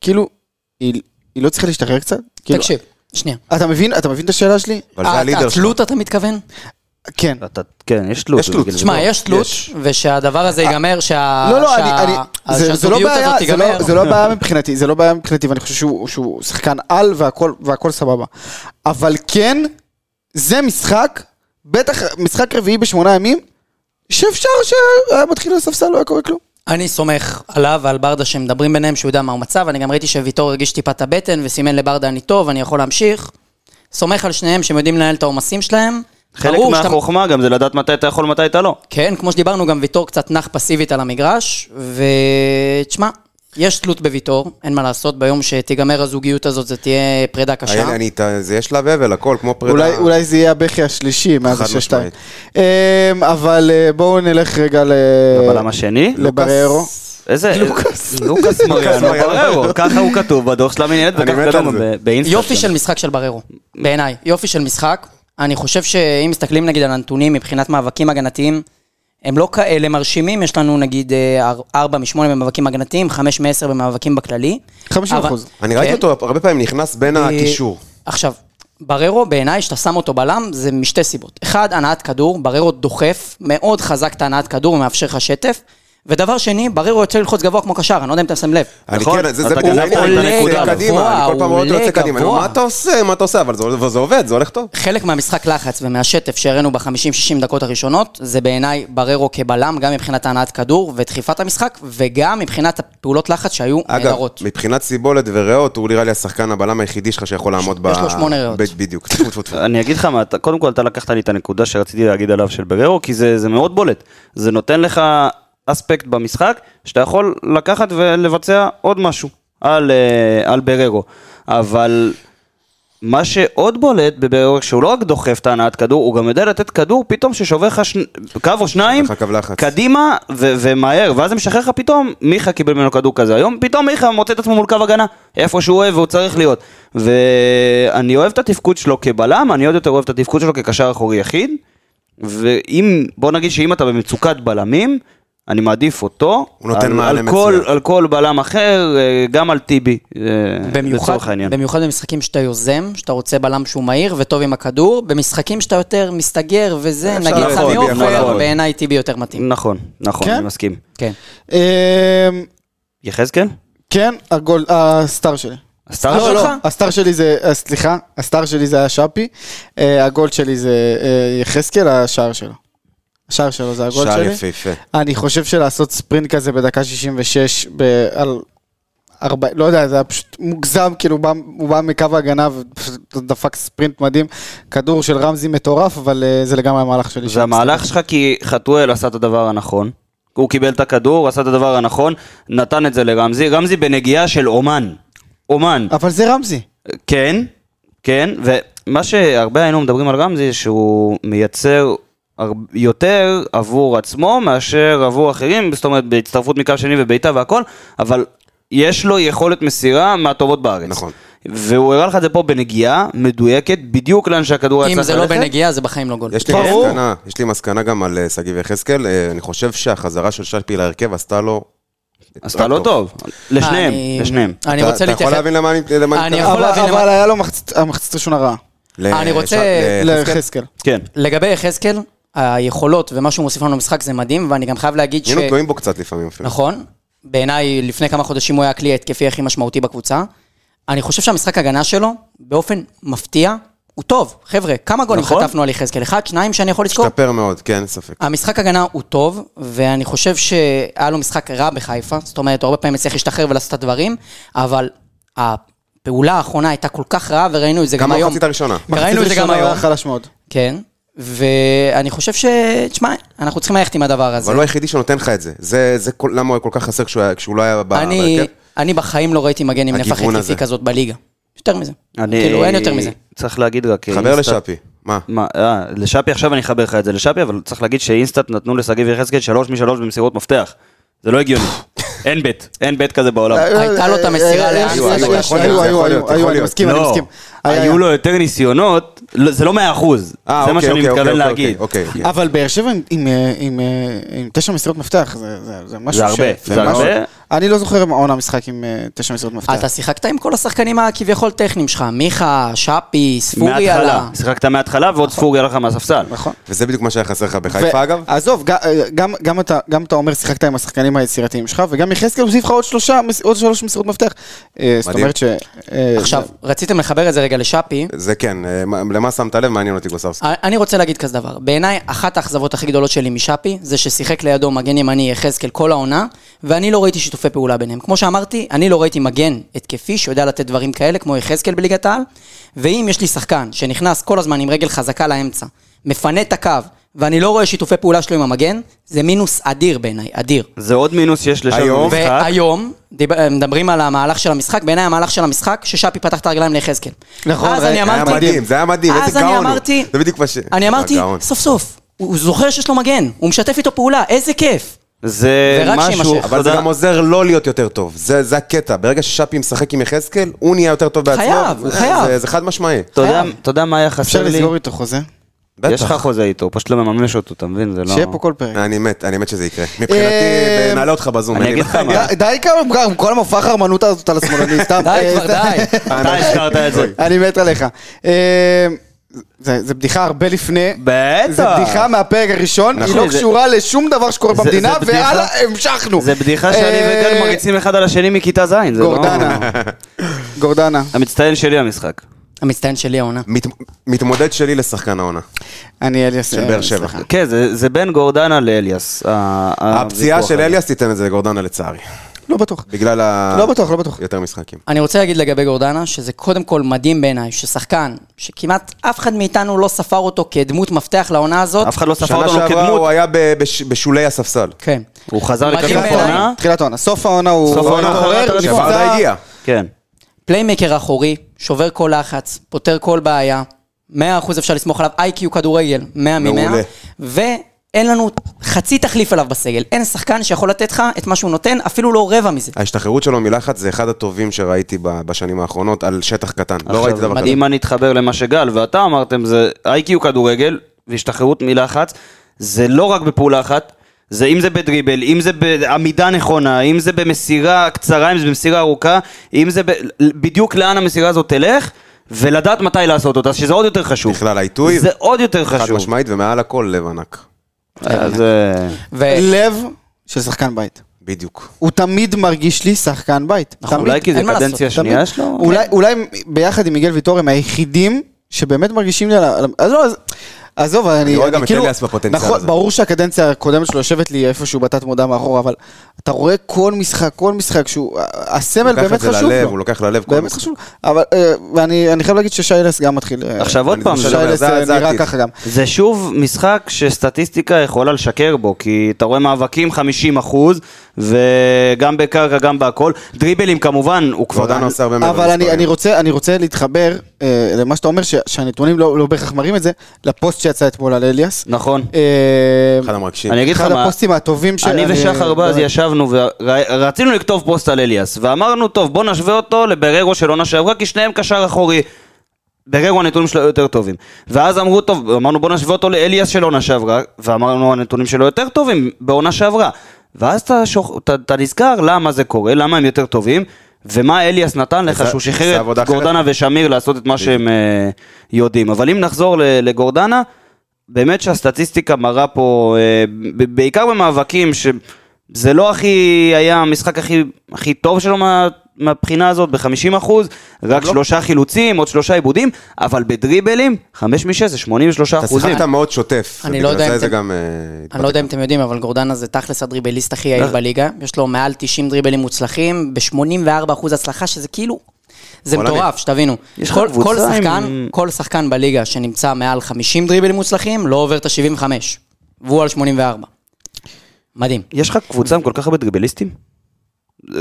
כאילו, היא, היא לא צריכה להשתחרר קצת? כאילו,
תקשיב, שנייה.
אתה מבין, אתה מבין את השאלה שלי?
אבל זה
אה,
הלידר שלך.
התלות אתה מתכוון?
כן.
אתה, כן, יש תלות.
יש תלות.
במיגל
תשמע,
ויטור.
יש תלות, ושהדבר הזה ייגמר, שה...
אה, לא, לא,
שה-
אני, אני,
אז
זה, זה לא
שהזוגיות
בעיה,
הזאת
זה לא,
תיגמר.
זה לא בעיה מבחינתי, זה לא בעיה מבחינתי, ואני חושב שהוא, שהוא שחקן על והכל, והכל סבבה. אבל כן, זה משחק, בטח משחק רביעי בשמונה ימים, שאפשר שהיה מתחיל לספסל, לא היה קורה כלום.
אני סומך עליו ועל ברדה שמדברים ביניהם, שהוא יודע מה המצב, אני גם ראיתי שוויטור הרגיש טיפה את הבטן וסימן לברדה אני טוב, אני יכול להמשיך. סומך על שניהם שהם יודעים לנהל את העומסים שלהם.
חלק
ברור שאתה-
מהחוכמה גם זה לדעת מתי אתה יכול, מתי אתה לא.
כן, כמו שדיברנו, גם ויטור קצת נח פסיבית על המגרש, ותשמע, יש תלות בוויטור, אין מה לעשות, ביום שתיגמר הזוגיות הזאת זה תהיה פרידה קשה.
אני- אני- אתה- זה יש לה ובל, הכל כמו פרידה.
אולי, אולי זה יהיה הבכי השלישי מאז
חד
השש-שתיים.
משמעית.
אמ, אבל אה, בואו נלך רגע ל...
אה,
הבלם השני?
לבררו.
איזה... לוקאס. לוקאס מוריאנו
מוריאנו.
בררו. ככה הוא כתוב בדוח של המנהלת,
אני מת
וככה
על
כתוב
זה.
באינסטגרם.
יופי של משחק של בררו, בעיניי, יופי של משחק. אני חושב שאם מסתכלים נגיד על הנתונים מבחינת מאבקים הגנתיים, הם לא כאלה מרשימים, יש לנו נגיד אה, 4 מ-8 במאבקים הגנתיים, 5 מ-10 במאבקים בכללי.
50%.
אבל-
אני ראיתי
כן. אה,
אותו הרבה פעמים נכנס בין הקישור.
עכשיו, בררו בעיניי, שאתה שם אותו בלם, זה משתי סיבות. אחד, הנעת כדור, בררו דוחף, מאוד חזק את הנעת כדור ומאפשר לך שטף. ודבר שני, בררו יוצא ללחוץ גבוה כמו קשר, אני לא יודע אם אתה שם לב.
אני
נכון,
כן, זה זה
אתה
בדיוק
גנבת
העניין,
את
אני
הנקודה,
יוצא קדימה,
גבוה,
אני כל פעם רואה אותו
עולה
יוצא קדימה, אני אומר,
גבוה.
מה אתה עושה, מה אתה עושה, אבל זה- אבל זה עובד, זה הולך טוב.
חלק מהמשחק לחץ ומהשטף שהראינו ב-50-60 דקות הראשונות, זה בעיניי בררו כבלם, גם מבחינת הנעת כדור ודחיפת המשחק, וגם מבחינת הפעולות לחץ שהיו
אגב,
נהדרות.
מבחינת סיבולת וריאות, הוא נראה לי השחקן הבלם היחידי שלך שיכול לעמוד ב...
יש לו שמונה ריאות.
ב- בדיוק, טפו, טפו, טפו.
אני אגיד לך מה, אתה, קודם כל אתה לקחת לי את הנקודה שרציתי להגיד עליו של בררו, כי זה, זה מאוד בולט. זה נותן לך אספקט במשחק, שאתה יכול לקחת ולבצע עוד משהו על, אה, על בררו. אבל מה שעוד בולט בבררו, שהוא לא רק דוחף את ההנעת כדור, הוא גם יודע לתת כדור פתאום ששובר לך שני- קו או שניים,
לך קו לחץ.
קדימה ו- ומהר, ואז זה משחרר לך פתאום, מיכה קיבל ממנו כדור כזה. היום פתאום מיכה מוצא את עצמו מול קו הגנה, איפה שהוא אוהב והוא צריך להיות. ואני אוהב את התפקוד שלו כבלם, אני עוד יותר אוהב את התפקוד שלו כקשר אחורי יחיד. ואם, בוא נגיד שאם אתה במצוקת בלמים, אני מעדיף אותו.
הוא נותן
על-
מענה
על כל,
מצוין.
על כל בלם אחר, אה, גם על טיבי, אה,
במיוחד,
לצורך העניין.
במיוחד במשחקים שאתה יוזם, שאתה רוצה בלם שהוא מהיר וטוב עם הכדור, במשחקים שאתה יותר מסתגר וזה,
אפשר
נגיד
לעבוד,
סמי
יכול
עופר,
לעבוד.
בעיניי טיבי יותר מתאים.
נכון, נכון,
כן?
אני מסכים.
כן.
אמ,
יחזקאל?
כן, הגול, הסטאר שלי.
הסטאר
לא,
שלך?
לא, הסטאר שלי זה, אה, סליחה, הסטאר שלי זה היה שפי, אה, הגול שלי זה אה, יחזקאל, השער שלו. השער שלו זה הגול
שער
שלי.
יפהפה.
אני חושב שלעשות ספרינט כזה בדקה 66 ב- על... ארבע, לא יודע, זה היה פשוט מוגזם, כאילו הוא בא- הוא בא מקו ההגנה ודפק ספרינט מדהים. כדור של רמזי מטורף, אבל אה, זה לגמרי המהלך שלי.
זה המהלך שלך כי חתואל עשה את הדבר הנכון. הוא קיבל את הכדור, עשה את הדבר הנכון, נתן את זה לרמזי. רמזי בנגיעה של אומן. אומן.
אבל זה רמזי.
כן, כן, ומה שהרבה היינו מדברים על רמזי, שהוא מייצר הר- יותר עבור עצמו מאשר עבור אחרים, זאת אומרת בהצטרפות מקו שני ובעיטה והכל, אבל יש לו יכולת מסירה מהטובות בארץ.
נכון.
והוא הראה לך את זה פה בנגיעה מדויקת, בדיוק לאן שהכדור היה
אם
צריך
זה לא
ללכת.
בנגיעה, זה בחיים לא גול.
יש לי
ברור.
מסקנה, יש לי מסקנה גם על אה, שגיב יחזקאל, אה, אני חושב שהחזרה של שפי להרכב עשתה לו...
עשתה לא טוב. לשניהם,
אני-
לשניהם.
אני
אתה-
רוצה
אתה
להתייחס...
יכול להבין למה אני... למה
אני
מתכוון?
יכול
אבל
להבין למה-
אבל היה לו מחצית- המחצית ראשונה רעה.
ל-
אני רוצה-
ש- ל-
ליחזקאל.
כן.
לגבי יחזקאל, היכולות ומה שהוא מוסיף לנו למשחק זה מדהים, ואני גם חייב להגיד ש...
היינו תלויים בו קצת לפעמים אפילו.
נכון. בעיניי, לפני כמה חודשים הוא היה הכלי ההתקפי הכי משמעותי בקבוצה. אני חושב שהמשחק הגנה שלו, באופן מפתיע, הוא טוב. חבר'ה, כמה גולים
נכון.
חטפנו על יחזקאל? אחד, שניים שאני יכול לזכור?
השתפר מאוד, כן, אין ספק.
המשחק הגנה הוא טוב, ואני חושב שהיה לו משחק רע בחיפה, זאת אומרת, הוא הרבה פעמים הצליח להשתחרר ולעשות את הדברים, אבל הפעולה האחרונה הייתה כל כך רעה, וראינו את זה גם
גם
היום.
במחצית הראשונה.
ראינו את זה
מחצית
גם
ראשונה
היום.
היה חלש מאוד.
כן, ואני חושב ש... תשמע, אנחנו צריכים ללכת עם הדבר הזה.
אבל הוא היחידי שנותן לך את זה. זה זה כל- למה הוא היה כל כך חסר כשהוא היה- כשהוא לא היה ב-
אני,
בהרכב.
אני בחיים לא ראיתי מגן עם נפח
הגיוון הזה. כן.
התקפי כזאת בליגה. יותר מזה.
אני-
כאילו, אין יותר מזה.
צריך להגיד רק...
חבר
אינסטאט-
לשאפי. מה?
מה, אה, לשאפי עכשיו אני אחבר לך את זה לשאפי, אבל צריך להגיד שאינסטאט נתנו לשגיב יחזקאל שלוש משלוש במסירות מפתח. זה לא הגיוני. אין בית, אין בית כזה בעולם.
הייתה לו את המסירה
אה, אה,
לאנסה
אה,
של
היו,
השנייה.
היו,
יכול
היו,
להיות,
היו,
יכול
היו, אני
להיות.
מסכים, אני
לא,
מסכים. אה, היה, היה.
היו לו יותר ניסיונות, לא, זה לא מאה אחוז.
אה,
זה מה
אוקיי,
שאני
אוקיי,
מתכוון
אוקיי,
להגיד.
אוקיי, אוקיי.
אה,
אבל באר שבע עם- עם, אה, עם, אה, עם תשע מסירות מפתח, זה- זה זה משהו
זה
ש...
הרבה, זה
משהו-
הרבה.
אני לא זוכר העונה משחק עם אה, תשע מסירות מפתח.
אתה שיחקת עם כל השחקנים הכביכול טכניים שלך, מיכה, שפי, ספורי
מההתחלה,
עלה.
שיחקת מההתחלה ועוד ספורי עלה לך מהספסל.
נכון.
וזה בדיוק מה שהיה חסר לך
ו-
בחיפה, אגב.
עזוב, ג- אה, גם- גם אתה- גם אתה אומר שיחקת עם השחקנים היצירתיים שלך, וגם יחזקאל הוסיף לך עוד שלושה, מס- עוד שלוש מסירות מפתח. אה, זאת
מדהים.
אומרת ש... אה,
עכשיו,
זה-
רציתם לחבר את זה רגע לשאפי.
זה כן, אה, מה- למה שמת לב? מעניין אותי גוסרסקי.
אני רוצה להגיד כזה דבר, בעיניי אחת האכזבות הכי גדולות שלי משאפי, זה ששיחק לידו מגן ימני יחזקאל כל העונה, ואני לא ראיתי שיתופי פעולה ביניהם. כמו שאמרתי, אני לא ראיתי מגן התקפי שיודע לתת דברים כאלה, כמו יחזקאל בליגת העל, ואם יש לי שחקן שנכנס כל הזמן עם רגל חזקה לאמצע, מפנה את הקו, ואני לא רואה שיתופי פעולה שלו עם המגן, זה מינוס אדיר בעיניי, אדיר.
זה עוד מינוס שיש לשם
היום-
במשחק.
והיום, דיב- אה, מדברים על המהלך של המשחק, בעיניי המהלך של המשחק, ששאפי פתח את הרגליים ליחזקאל.
נכון,
אז
ראי-
אני
היה
אמרתי...
זה היה מדהים, זה היה מדהים,
אז
איזה
אני
גאון הוא.
אמרתי,
זה בדיוק מה ש...
אני אמרתי,
גאון.
סוף סוף, הוא הוא זוכר שיש לו מגן, הוא משתף איתו פעולה, איזה כיף.
זה
ורק
משהו,
שיימשך.
אבל זה
תודה.
גם עוזר לא להיות יותר טוב, זה זה הקטע. ברגע ששאפי משחק עם יחזקאל, הוא נהיה יותר טוב בעצמו.
חייב, הוא
זה-
חייב.
זה- זה חד משמעי.
אתה יודע- אתה יודע מה היה
אפשר
חסר לי?
לסגור איתו חוזה?
יש לך חוזה איתו, הוא פשוט לא מממש אותו, אתה מבין? זה לא...
שיהיה פה כל פרק.
אני מת, אני מת שזה יקרה. מבחינתי,
אה,
נעלה אותך בזום.
אני
אין לי
אגיד לך
בעיה.
מה.
די- די כמה, גם כל המופע החרמנות הזאת על השמאלני, סתם.
די
אה,
כבר,
סתם.
די.
אתה הזכרת את זה.
אני מת עליך. אה, זה זה בדיחה הרבה לפני.
בטח.
זה בדיחה מהפרק הראשון, היא
נכון.
לא
זה-
קשורה לשום דבר שקורה
זה-
במדינה,
זה בדיחה-
והלאה, המשכנו.
זה בדיחה שאני
אה,
וגל מריצים אחד על השני מכיתה ז', זה לא...
גורדנה. גורדנה.
המצטיין שלי המשחק.
המצטיין שלי העונה.
מת- מתמודד שלי לשחקן
אה,
העונה,
אני אליאס. אה,
של באר שבע.
סליחה.
כן, זה זה בין גורדנה לאליאס. ה-
הפציעה
הוויכוח
של
הזה.
אליאס תיתן את זה לגורדנה לצערי.
לא בטוח.
בגלל ה...
לא בטוח, לא בטוח.
יותר משחקים.
אני רוצה להגיד לגבי גורדנה, שזה קודם כל מדהים בעיניי, ששחקן, שכמעט אף אחד מאיתנו לא ספר אותו כדמות מפתח לעונה הזאת.
אף אחד לא ספר
שנה
אותנו
שעברה הוא
כדמות.
היה ב- בש- בשולי הספסל.
כן.
הוא חזר
מדהים
לקראת
בעיניי.
העונה.
תחילת העונה. סוף העונה הוא...
סוף העונה,
הוא התעורר,
אחרת,
נפצע.
שברדה הגיע.
כן.
פליימקר אחורי, שובר כל לחץ, פותר כל בעיה, 100% אפשר לסמוך עליו, איי-קיו כדורגל, 100
מעולה.
מ-100, ואין לנו חצי תחליף אליו בסגל. אין שחקן שיכול לתת לך את מה שהוא נותן, אפילו לא רבע מזה.
ההשתחררות שלו מלחץ זה אחד הטובים שראיתי ב- בשנים האחרונות על שטח קטן. לא ראיתי דבר כזה.
מדהים. אם אני אתחבר למה שגל ואתה אמרתם, זה איי-קיו כדורגל והשתחררות מלחץ, זה לא רק בפעולה אחת. זה אם זה בדריבל, אם זה בעמידה נכונה, אם זה במסירה קצרה, אם זה במסירה ארוכה, אם זה ב... בדיוק לאן המסירה הזאת תלך, ולדעת מתי לעשות אותה, שזה עוד יותר חשוב.
בכלל העיתוי.
זה עוד יותר
חד
חשוב.
משמעית ומעל הכל לב ענק.
אז... אה,
ו-
לב של שחקן בית.
בדיוק.
הוא תמיד מרגיש לי שחקן בית.
נכון,
תמיד.
אולי כי זה
אין מה לעשות,
קדנציה שנייה
תמיד. לא-
שלו?
כן.
אולי, אולי ביחד עם מיגל ויטור הם היחידים שבאמת מרגישים לי על ה... על ה- אז לא, אז... עזוב, אני,
רואה גם את אליאס בפוטנציאל
נכון,
הזה.
ברור שהקדנציה הקודמת שלו יושבת לי איפשהו בתת מודע מאחורה, אבל אתה רואה כל משחק, כל משחק שהוא... הסמל
לוקח
באמת
את זה
חשוב
ללב,
לו.
הוא לוקח ללב כל
באמת
משחק.
חשוב לו. אבל... אה, ואני אני חייב להגיד ששי אלס גם מתחיל... אה,
עכשיו עוד
אני-
פעם,
שי
זה לא-
אלס
זה-
אה,
זה
נראה
העתיד.
ככה גם.
כן.
זה שוב משחק שסטטיסטיקה יכולה לשקר בו, כי אתה רואה מאבקים 50 אחוז, וגם בקרקע, גם בהכל. דריבלים כמובן, הוא כבר...
גורדנה לא עושה הרבה מאוד.
אבל אני,
מספרים.
אני, רוצה, אני רוצה להתחבר אה, למה שאתה אומר, ש, שהנתונים לא, לא בהכרח מראים את זה, לפוסט שיצא אתמול על אליאס.
נכון.
אה,
אחד המרגשים.
אני אגיד לך
אחד
מה,
הפוסטים הטובים
אני ושחר בז
באמת.
ישבנו ורצינו לכתוב פוסט על אליאס, ואמרנו, טוב, בוא נשווה אותו לבררו של עונה שעברה, כי שניהם קשר אחורי. בררו הנתונים שלו יותר טובים. ואז אמרו, טוב, אמרנו בוא נשווה אותו לאליאס של עונה שעברה, ואמרנו הנתונים שלו יותר טובים בעונה שעברה. ואז אתה, שוח... אתה, אתה נזכר למה זה קורה, למה הם יותר טובים, ומה אליאס נתן לך
עשה-
שהוא
עשה
שחרר
עבודה
את
אחרת.
גורדנה ושמיר לעשות את מה שהם אה, יודעים. אבל אם נחזור ל- לגורדנה, באמת שהסטטיסטיקה מראה פה, אה, ב- בעיקר במאבקים, שזה לא הכי היה המשחק הכי, הכי טוב שלו מה... מהבחינה הזאת ב-50 אחוז, רק
לא.
שלושה חילוצים, עוד שלושה עיבודים, אבל בדריבלים, חמש משש זה 83
אתה
אחוזים.
שיחקת מאוד שוטף.
אני לא יודע
ובגלל
אם
זה זה
אתם-
גם... אה,
אני לא יודע אם אתם יודעים, אבל גורדנה זה תכלס הדריבליסט הכי יעיל
נכון.
בליגה. יש לו מעל 90 דריבלים מוצלחים, ב-84% הצלחה, שזה כאילו... זה
עולמי.
מטורף, שתבינו.
יש לך
כל,
קבוצה
כל,
עם-
שחקן, כל שחקן בליגה שנמצא מעל 50 דריבלים מוצלחים, לא עובר את ה-75, והוא על 84. מדהים.
יש לך קבוצה עם כל כך הרבה דריבליסטים?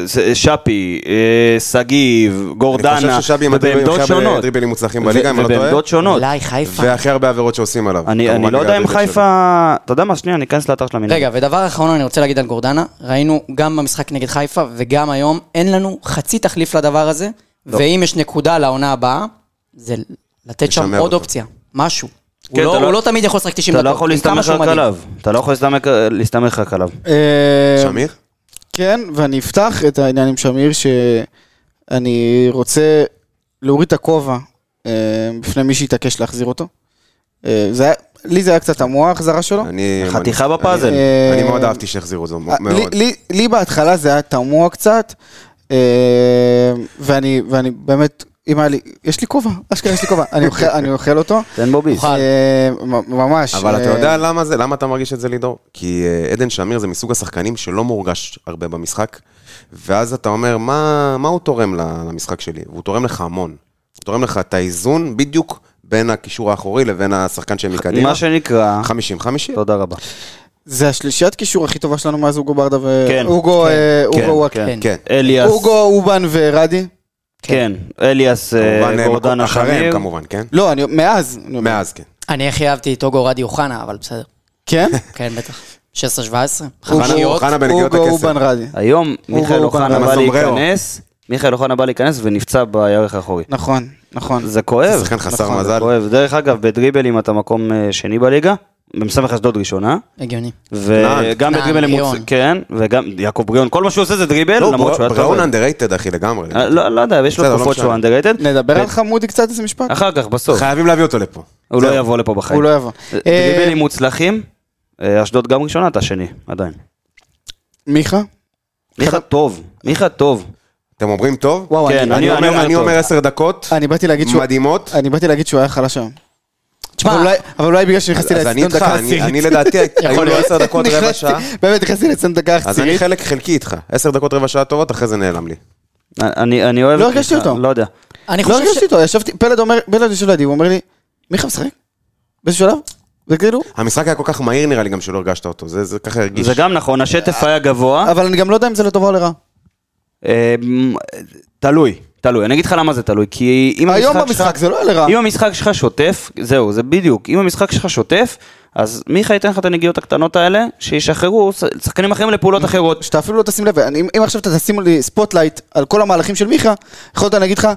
זה- שפי, אה, שגיב, גורדנה,
אני חושב ששבי עם הדריבלים
לא ובעמדות
הכי הרבה
שונות.
דריבלים מוצלחים
ו-
בליגה, אם אני לא טועה.
ובעמדות שונות.
אולי חיפה.
והכי הרבה עבירות שעושים עליו.
אני
כמובן
אני לא
בגלל
יודע אם
הדריבל שלו.
חיפה... אתה יודע מה? שנייה, אני אכנס לאתר של המינהל.
רגע, ודבר אחרון אני רוצה להגיד על גורדנה, ראינו גם במשחק נגד חיפה וגם היום, אין לנו חצי תחליף לדבר הזה,
לא.
ואם יש נקודה לעונה הבאה, זה לתת שם
לשמר
עוד
אותו.
אופציה, משהו. הוא
כן,
לא-
אתה לא-
הוא לא תמיד יכול לשחק 90
אתה
דקות,
לא יכול
עם כמה
להסתמך
שהוא
רק
מדהים.
עליו. אתה לא יכול להסתמך- להסתמך רק עליו.
אה,
שמיר?
כן, ואני אפתח את העניין עם שמיר, שאני רוצה להוריד את הכובע אה, בפני מי שהתעקש להחזיר אותו. אה, זה היה, לי זה היה קצת תמוה ההחזרה שלו.
אני...
חתיכה
אני-
בפאזל.
אני- אני
אה,
מאוד אהבתי שהחזירו את זה,
אה, לי-
מאוד.
לי- לי בהתחלה זה היה תמוה קצת, אה, ואני ואני באמת, אם היה לי, יש לי כובע, אשכרה יש לי כובע, אני אוכל- אני אוכל אותו.
תן בו ביס.
אוכל.
אה, מ- ממש.
אבל אתה
אה,
יודע למה זה? למה אתה מרגיש את זה, לידור? כי אה, עדן שמיר זה מסוג השחקנים שלא מורגש הרבה במשחק, ואז אתה אומר, מה, מה הוא תורם ל- למשחק שלי? הוא תורם לך המון. הוא תורם לך את האיזון בדיוק בין הקישור האחורי לבין השחקן שמקדימה.
מה שנקרא...
50 50
תודה רבה.
זה השלישיית קישור הכי טובה שלנו מאז אוגו ברדה
כן,
ואוגו,
כן,
אוגו
כן.
כן.
אליאס,
אוגו, אובן ורדי.
כן, אליאס, אה,
כמובן, אה,
גורדנה,
אחריהם
שמיר.
כמובן, כן?
לא, אני, מאז. אני אומר.
מאז, כן.
אני הכי אהבתי את אוגו רדי אוחנה, אבל בסדר.
כן?
כן, בטח. 16-17,
אוחנה-
חמישיות.
אוחנה בנגיעות
אוגו
הכסף.
אובן רדי.
היום
אוגו
מיכאל
אוחנה
אוחנה
עם
בא
הסומבררו.
להיכנס, מיכאל אוחנה בא להיכנס ונפצע בירך האחורי.
נכון, נכון.
זה כואב.
זה שחקן חסר
נכון, זה
מזל.
כואב. דרך אגב, בדריבלים אתה מקום אה, שני בליגה, במסמך אשדוד ראשונה,
הגיוני.
וגם
נען,
בדריבלים... הוא-
בריאון.
כן, וגם יעקב בריאון, כל מה שהוא עושה זה דריבל,
לא,
כן, למרות שהוא היה
בראון
טוב.
אנדררייטד, אחי, לגמרי.
אה, לא לא יודע, יש לו
בסדר, לא
תקופות
משנה.
שהוא אנדררייטד.
נדבר על חמודי קצת איזה משפט?
אחר כך, בסוף.
חייבים להביא אותו לפה.
הוא לא
זהו.
יבוא לפה בחיים.
הוא לא יבוא. אה,
דריבלים מוצלחים, אה, אשדוד גם ראשונה, אתה שני, עדיין.
מיכה?
מיכה טוב, מיכה טוב.
אתם אומרים טוב?
וואו,
כן,
אני-
אני
אני
אומר-
אומר
אני
טוב.
אומר עשר דקות
אני באתי להגיד שהוא...
מדהימות.
אני באתי להגיד שהוא היה חלש היום.
תשמע,
אבל אולי- אבל אולי בגלל שנכנסתי
אז אני
לאצטדיון
איתך,
דקה
אני-
עשירית.
אני לדעתי, היו לו עשר דקות רבע
נכנסתי-
שעה.
באמת, נכנסתי לאצטדיון דקה
אז אני
עשירית.
חלק חלקי איתך. עשר דקות רבע שעה טובות, אחרי זה נעלם לי.
אה, אני אני אוהב...
לא
את
הרגשתי
מיכה,
אותו.
לא יודע.
אני
לא
חושב ש...
הרגשתי אותו, ישבתי, פלד אומר, פלד יושב לידי, הוא אומר לי, מיכה משחק? באיזה שלב? זה כאילו...
המשחק היה כל כך מהיר נראה לי גם שלא הרגשת אותו, זה זה ככה הרגיש.
זה גם נכון, השטף היה
אה?
גבוה.
אה, אבל אני גם לא יודע אם זה לטובה או לרעה.
אמ, תלוי, תלוי. אני אגיד לך למה זה תלוי, כי אם
היום
המשחק
במשחק
שלך...
זה לא היה לרעה.
אם המשחק שלך שוטף, זהו, זה בדיוק. אם המשחק שלך שוטף, אז מיכה ייתן לך את הנגיעות הקטנות האלה, שישחררו ש- שחקנים אחרים לפעולות אחרות.
שאתה אפילו לא תשים לב, אני, אם עכשיו אתה תשים לי ספוטלייט על כל המהלכים של מיכה, יכול להיות אני אגיד לך,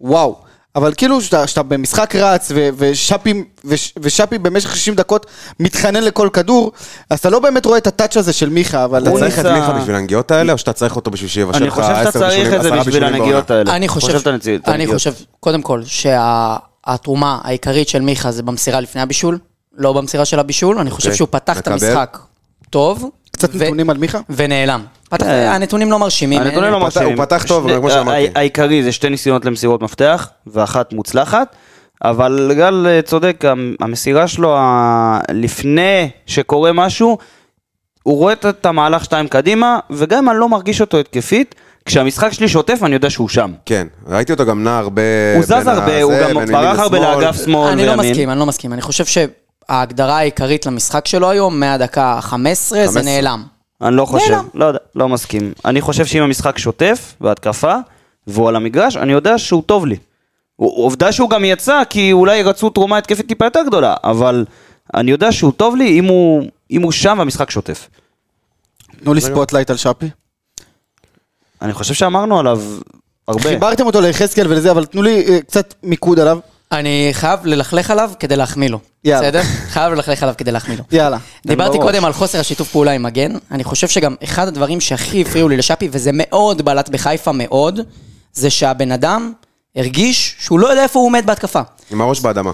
וואו. אבל כאילו שאתה, שאתה במשחק רץ, ו, ושפי, וש, ושפי במשך 60 דקות מתחנן לכל כדור, אז אתה לא באמת רואה את הטאץ' הזה של מיכה, אבל...
אתה
הוא
צריך את
ניסה-
מיכה בשביל הנגיעות האלה, או שאתה צריך אותו בשביל שיבשל
אני
לך
חושב שאתה
עשר
צריך
בישולים,
את זה
עשרה
בשביל
בישולים
הנגיעות
בעונה?
האלה.
אני חושב,
שאתה נצ- את
אני
הנגיעות.
חושב, קודם כל, שהתרומה העיקרית של מיכה זה במסירה לפני הבישול, לא במסירה של הבישול, אני חושב
אוקיי,
שהוא פתח את
מקבל.
המשחק טוב.
לא-
קצת
ו-
נתונים על מיכה?
ונעלם. פתח-
אה.
הנתונים לא מרשימים.
הנתונים לא
הוא פתח-
מרשימים.
הוא פתח טוב,
שני-
אבל כמו
ה-
שאמרתי.
ה- העיקרי זה שתי ניסיונות למסירות מפתח, ואחת מוצלחת. אבל גל אה, צודק, המ- המסירה שלו, ה- לפני שקורה משהו, הוא רואה את- את המהלך שתיים קדימה, וגם אם אני לא מרגיש אותו התקפית, כשהמשחק שלי שוטף, אני יודע שהוא שם.
כן, ראיתי אותו גם נע הרבה...
הוא זז
בין
הרבה,
הזה,
הוא
בין
גם
ימין
ברח הרבה
לשמאל.
לאגף שמאל וימין.
אני לא מסכים, אני לא מסכים. אני חושב שההגדרה העיקרית למשחק שלו היום, מהדקה ה-15, זה
15.
נעלם.
אני לא חושב,
נעלם.
לא יודע, לא מסכים. אני חושב שאם המשחק שוטף והתקפה, והוא על המגרש, אני יודע שהוא טוב לי. הוא- עובדה שהוא גם יצא, כי אולי רצו תרומה התקפית טיפה יותר גדולה, אבל אני יודע שהוא טוב לי אם הוא, אם הוא שם והמשחק שוטף.
תנו לי ספוטלייט על שפי.
אני חושב שאמרנו עליו הרבה.
חיברתם אותו ליחזקאל ולזה, אבל תנו לי אה, קצת מיקוד עליו.
אני חייב ללכלך עליו כדי להחמיא לו.
יאללה.
בסדר? חייב ללכלך עליו כדי להחמיא לו.
יאללה.
דיברתי
בראש.
קודם על חוסר השיתוף פעולה עם מגן, אני חושב שגם אחד הדברים שהכי הפריעו לי לשאפי, וזה מאוד בלט בחיפה, מאוד, זה שהבן אדם הרגיש שהוא לא יודע איפה הוא עומד בהתקפה.
כן,
עם הראש באדמה.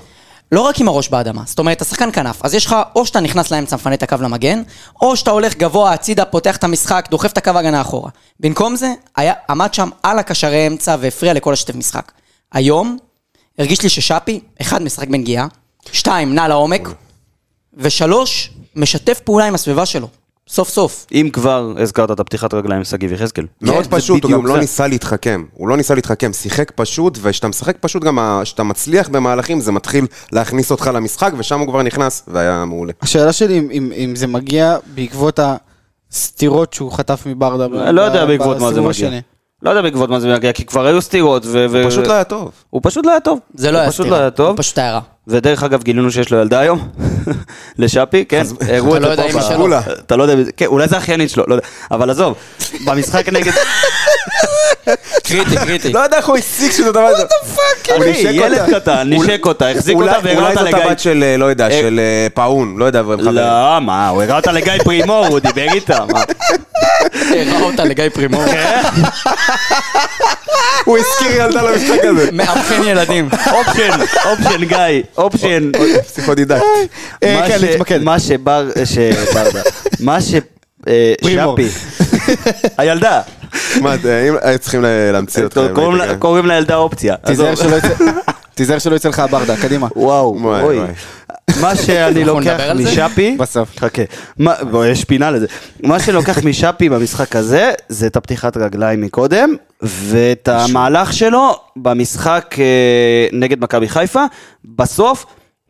לא רק עם הראש באדמה, זאת אומרת, אתה שחקן כנף, אז יש לך, או שאתה נכנס לאמצע, מפנה את הקו למגן, או שאתה הולך גבוה הצידה, פותח את המשחק, דוחף את הקו הגנה אחורה. במקום זה, היה, עמד שם על הקשרי אמצע והפריע לכל השתף משחק. היום, הרגיש לי ששאפי, אחד, משחק בנגיעה, שתיים, נע לעומק, ושלוש, משתף פעולה עם הסביבה שלו, סוף סוף.
אם כבר הזכרת את הפתיחת רגליים עם שגיב יחזקאל.
מאוד
זה
פשוט, הוא
בדיוק
גם לא
זה.
ניסה להתחכם. הוא לא ניסה להתחכם, שיחק פשוט, וכשאתה משחק פשוט, גם ה- כשאתה מצליח במהלכים, זה מתחיל להכניס אותך למשחק, ושם הוא כבר נכנס, והיה מעולה.
השאלה שלי, אם, אם, אם זה מגיע בעקבות הסטירות שהוא חטף מברדה. ב-
לא יודע
ב-
בעקבות מה זה
בסיבוב
מגיע.
השני.
לא יודע בעקבות מה זה מגיע, כי כבר היו סטירות. ו- ו-
הוא פשוט לא היה טוב.
הוא פשוט לא היה טוב.
זה לא
הוא
היה
פשוט
סתירה,
לא היה
הוא
טוב.
פשוט היה רע.
ודרך אגב, גילינו שיש לו ילדה היום, לשאפי, כן? הראו
אתה
את זה
לא יודע
פה
אם היא
ב-
שלו.
אתה לא יודע, מי זה- כן, אולי זה אחיינית שלו, לא יודע. אבל עזוב, במשחק נגד...
קריטי, קריטי.
לא יודע איך הוא הסיק שזה דבר הזה. הוא
אחי,
נשק
ילד
אותה.
קטן, נשק אותה, החזיק
אולי-
אותה והראה
אולי
אותה
זאת
לגיא...
הבת של, אה, לא יודע,
אה,
של אה, פאון, לא יודע, אבל הם חברים.
לא, מה, הוא הראה אותה לגיא פרימור, הוא דיבר איתה, מה?
הראה אותה לגיא פרימור.
הוא הזכיר ילדה למשחק הזה.
מאבחן ילדים.
אופשן, אופשן גיא, אופשן.
פסיכודידקט.
אה,
מה
כן,
ש-
להתמקד.
מה שבר... שברדה. מה ש... אה,
פרימור.
שפי. הילדה.
מה, זה, אם- היו צריכים ל- להמציא אותך.
קוראים לה- קוראים לילדה אופציה.
תיזהר
עזוב.
שלא יצא- תיזהר שלא יצא לך הברדה, קדימה.
וואו,
וואי,
אוי.
וואי.
מה שאני
אנחנו
לוקח
נדבר על זה?
משאפי,
בסוף.
חכה, מה- בוא, יש פינה לזה, מה שאני לוקח משאפי במשחק הזה, זה את הפתיחת רגליים מקודם, ואת המהלך שלו במשחק אה, נגד מכבי חיפה, בסוף,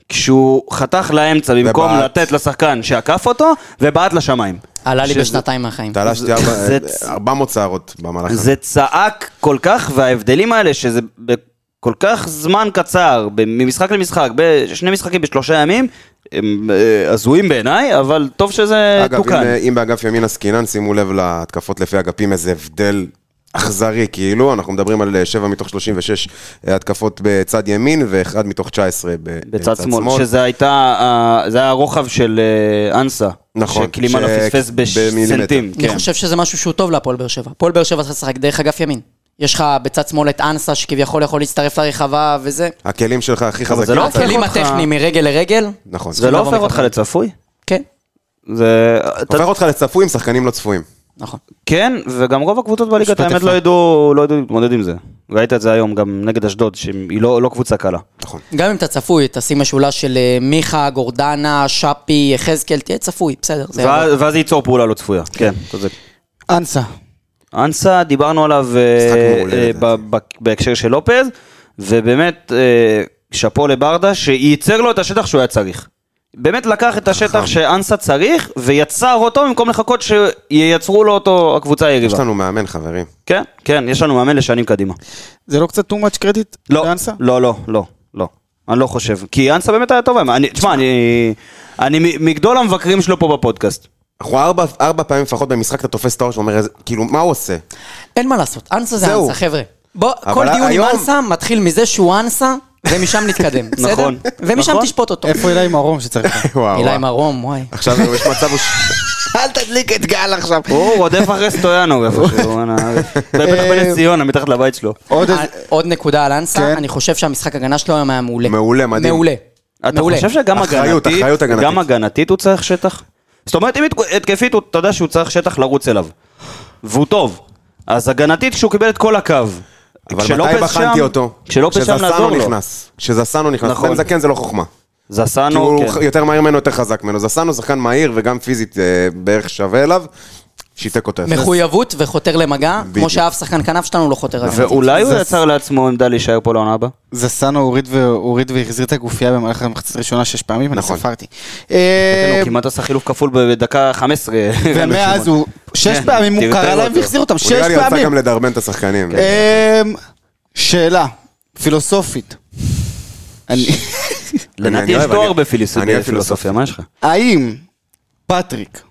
כשהוא חתך לאמצע במקום
ובעט.
לתת לשחקן שעקף אותו, ובעט לשמיים.
עלה לי
שזה-
בשנתיים מהחיים.
תלשתי
זה-
ארבע-
זה-
אה, 400 שערות במהלך הזה.
זה צעק כל כך, וההבדלים האלה, שזה בכל כך זמן קצר, ב- ממשחק למשחק, בשני משחקים בשלושה ימים, הם אה, הזויים בעיניי, אבל טוב שזה
אגב, אם,
תוקן.
אה, אם באגף ימין עסקינן, שימו לב להתקפות לפי אגפים, איזה הבדל אכזרי, כאילו, אנחנו מדברים על אה, 7 מתוך 36 התקפות בצד ימין, ואחד מתוך 19 ב-
בצד שמאל, שזה הייתה, ה- זה היה הרוחב של אה, אנסה.
נכון,
שקלימנו
ש-
פספס
במילימטר.
בסנטים.
אני
כן.
חושב שזה משהו שהוא טוב להפועל באר שבע. הפועל באר שבע צריך לשחק דרך אגף ימין. יש לך בצד שמאל את אנסה שכביכול יכול להצטרף לרחבה וזה.
הכלים שלך הכי
אבל
חזקים.
זה לא
בצד-
הופך
הכלים
אותך-
הטכניים מרגל לרגל,
נכון.
זה לא
לבוא
הופך אותך
מכוון.
לצפוי?
כן,
זה... אתה-
הופך אותך לצפוי עם שחקנים לא צפויים.
נכון.
כן, וגם רוב הקבוצות בליגת
משפט
האמת
יפה.
לא ידעו לא ידעו להתמודד עם זה. ראית את זה היום גם נגד אשדוד, שהיא לא לא קבוצה קלה.
נכון.
גם אם אתה צפוי, תשים משולש של אה, מיכה, גורדנה, שפי, יחזקאל, תהיה צפוי, בסדר. זה יעבור.
ואז ואז זה ייצור פעולה לא צפויה, כן, צודק.
אנסה.
אנסה, דיברנו עליו
משחק
אה,
מעולה,
אה,
לדעתי.
ב- ב- בהקשר של לופז, ובאמת, אה, שאפו לברדה, שייצר לו את השטח שהוא היה צריך. באמת לקח את השטח שאנסה צריך, ויצר אותו במקום לחכות שייצרו לו אותו הקבוצה
יש
היריבה.
לנו מאמן, חברים.
כן, כן, יש לנו מאמן לשנים קדימה.
זה לא קצת too much קרדיט?
לא,
לאנסה?
לא, לא, לא, לא. אני לא חושב. כי אנסה באמת היה טוב היום. אני- תשמע, אני אני מ- מגדול המבקרים שלו פה בפודקאסט.
אנחנו ארבע, ארבע פעמים לפחות במשחק אתה תופס את האור ואומר, "איזה- כאילו, מה הוא עושה?
אין מה לעשות, אנסה זה
זהו.
אנסה, חבר'ה. בוא,
אבל
כל דיון עם
היום-
אנסה מתחיל מזה שהוא אנסה, ומשם נתקדם, בסדר?
נכון,
ומשם
נכון.
תשפוט אותו. אה,
איפה אילי מרום שצריך?
וואו.
אילי
וואו.
מרום, וואי.
עכשיו יש מצב, הוא ש-
אל תדליק את גל עכשיו.
הוא רודף אחרי סטויאנוב איפשהו, אנא, בטח בנס ציונה, מתחת לבית שלו.
עוד איזה...
אה, עוד נקודה על אנסה,
כן.
אני חושב שהמשחק הגנה שלו היום היה מעולה.
מעולה, מדהים.
מעולה.
אתה
מעולה.
חושב שגם
אחריות,
הגנתית,
אחריות הגנתית.
גם הגנתית הוא צריך שטח? זאת אומרת, אם התק- התקפית, הוא- אתה יודע שהוא צריך שטח לרוץ אליו. והוא טוב. אז הגנתית, כשהוא קיבל את כל הקו.
אבל
כשלופז
מתי בחנתי
שם-
אותו?
כשלופז שם
כשזסנו
לעזור לו.
נכנס. כשזסנו נכנס.
נכון.
בן זקן זה לא חוכמה. כי
זסנו,
כאילו, הוא
כן.
ח- יותר מהיר ממנו, יותר חזק ממנו. זסנו שחקן מהיר וגם פיזית אה, בערך שווה אליו, שיתק אותו. יפה.
מחויבות וחותר למגע,
בדיוק.
כמו שאף שחקן כנף שלנו לא חותר הגנתית.
ואולי הוא
זס-
יצר לעצמו עמדה להישאר פה לעונה הבאה?
זסנו הוריד ו- הוריד והחזיר את הגופייה במהלך המחצית הראשונה שש פעמים, אני
נכון.
ספרתי.
כן,
אה,
הוא כמעט עשה חילוף כפול בדקה 15.
ומאז הוא... שש
כן,
פעמים הוא
טרטר
קרא להם
אותו.
והחזיר אותם,
הוא
שש
נראה לי רצה
פעמים.
גם לדרבן את השחקנים.
אמ, שאלה, פילוסופית. אני-
לנתי
אני
יש
לא אוהב,
תואר
אני- אני אוהב
בפילוסופיה,
פילוסופיה.
מה יש לך?
האם פטריק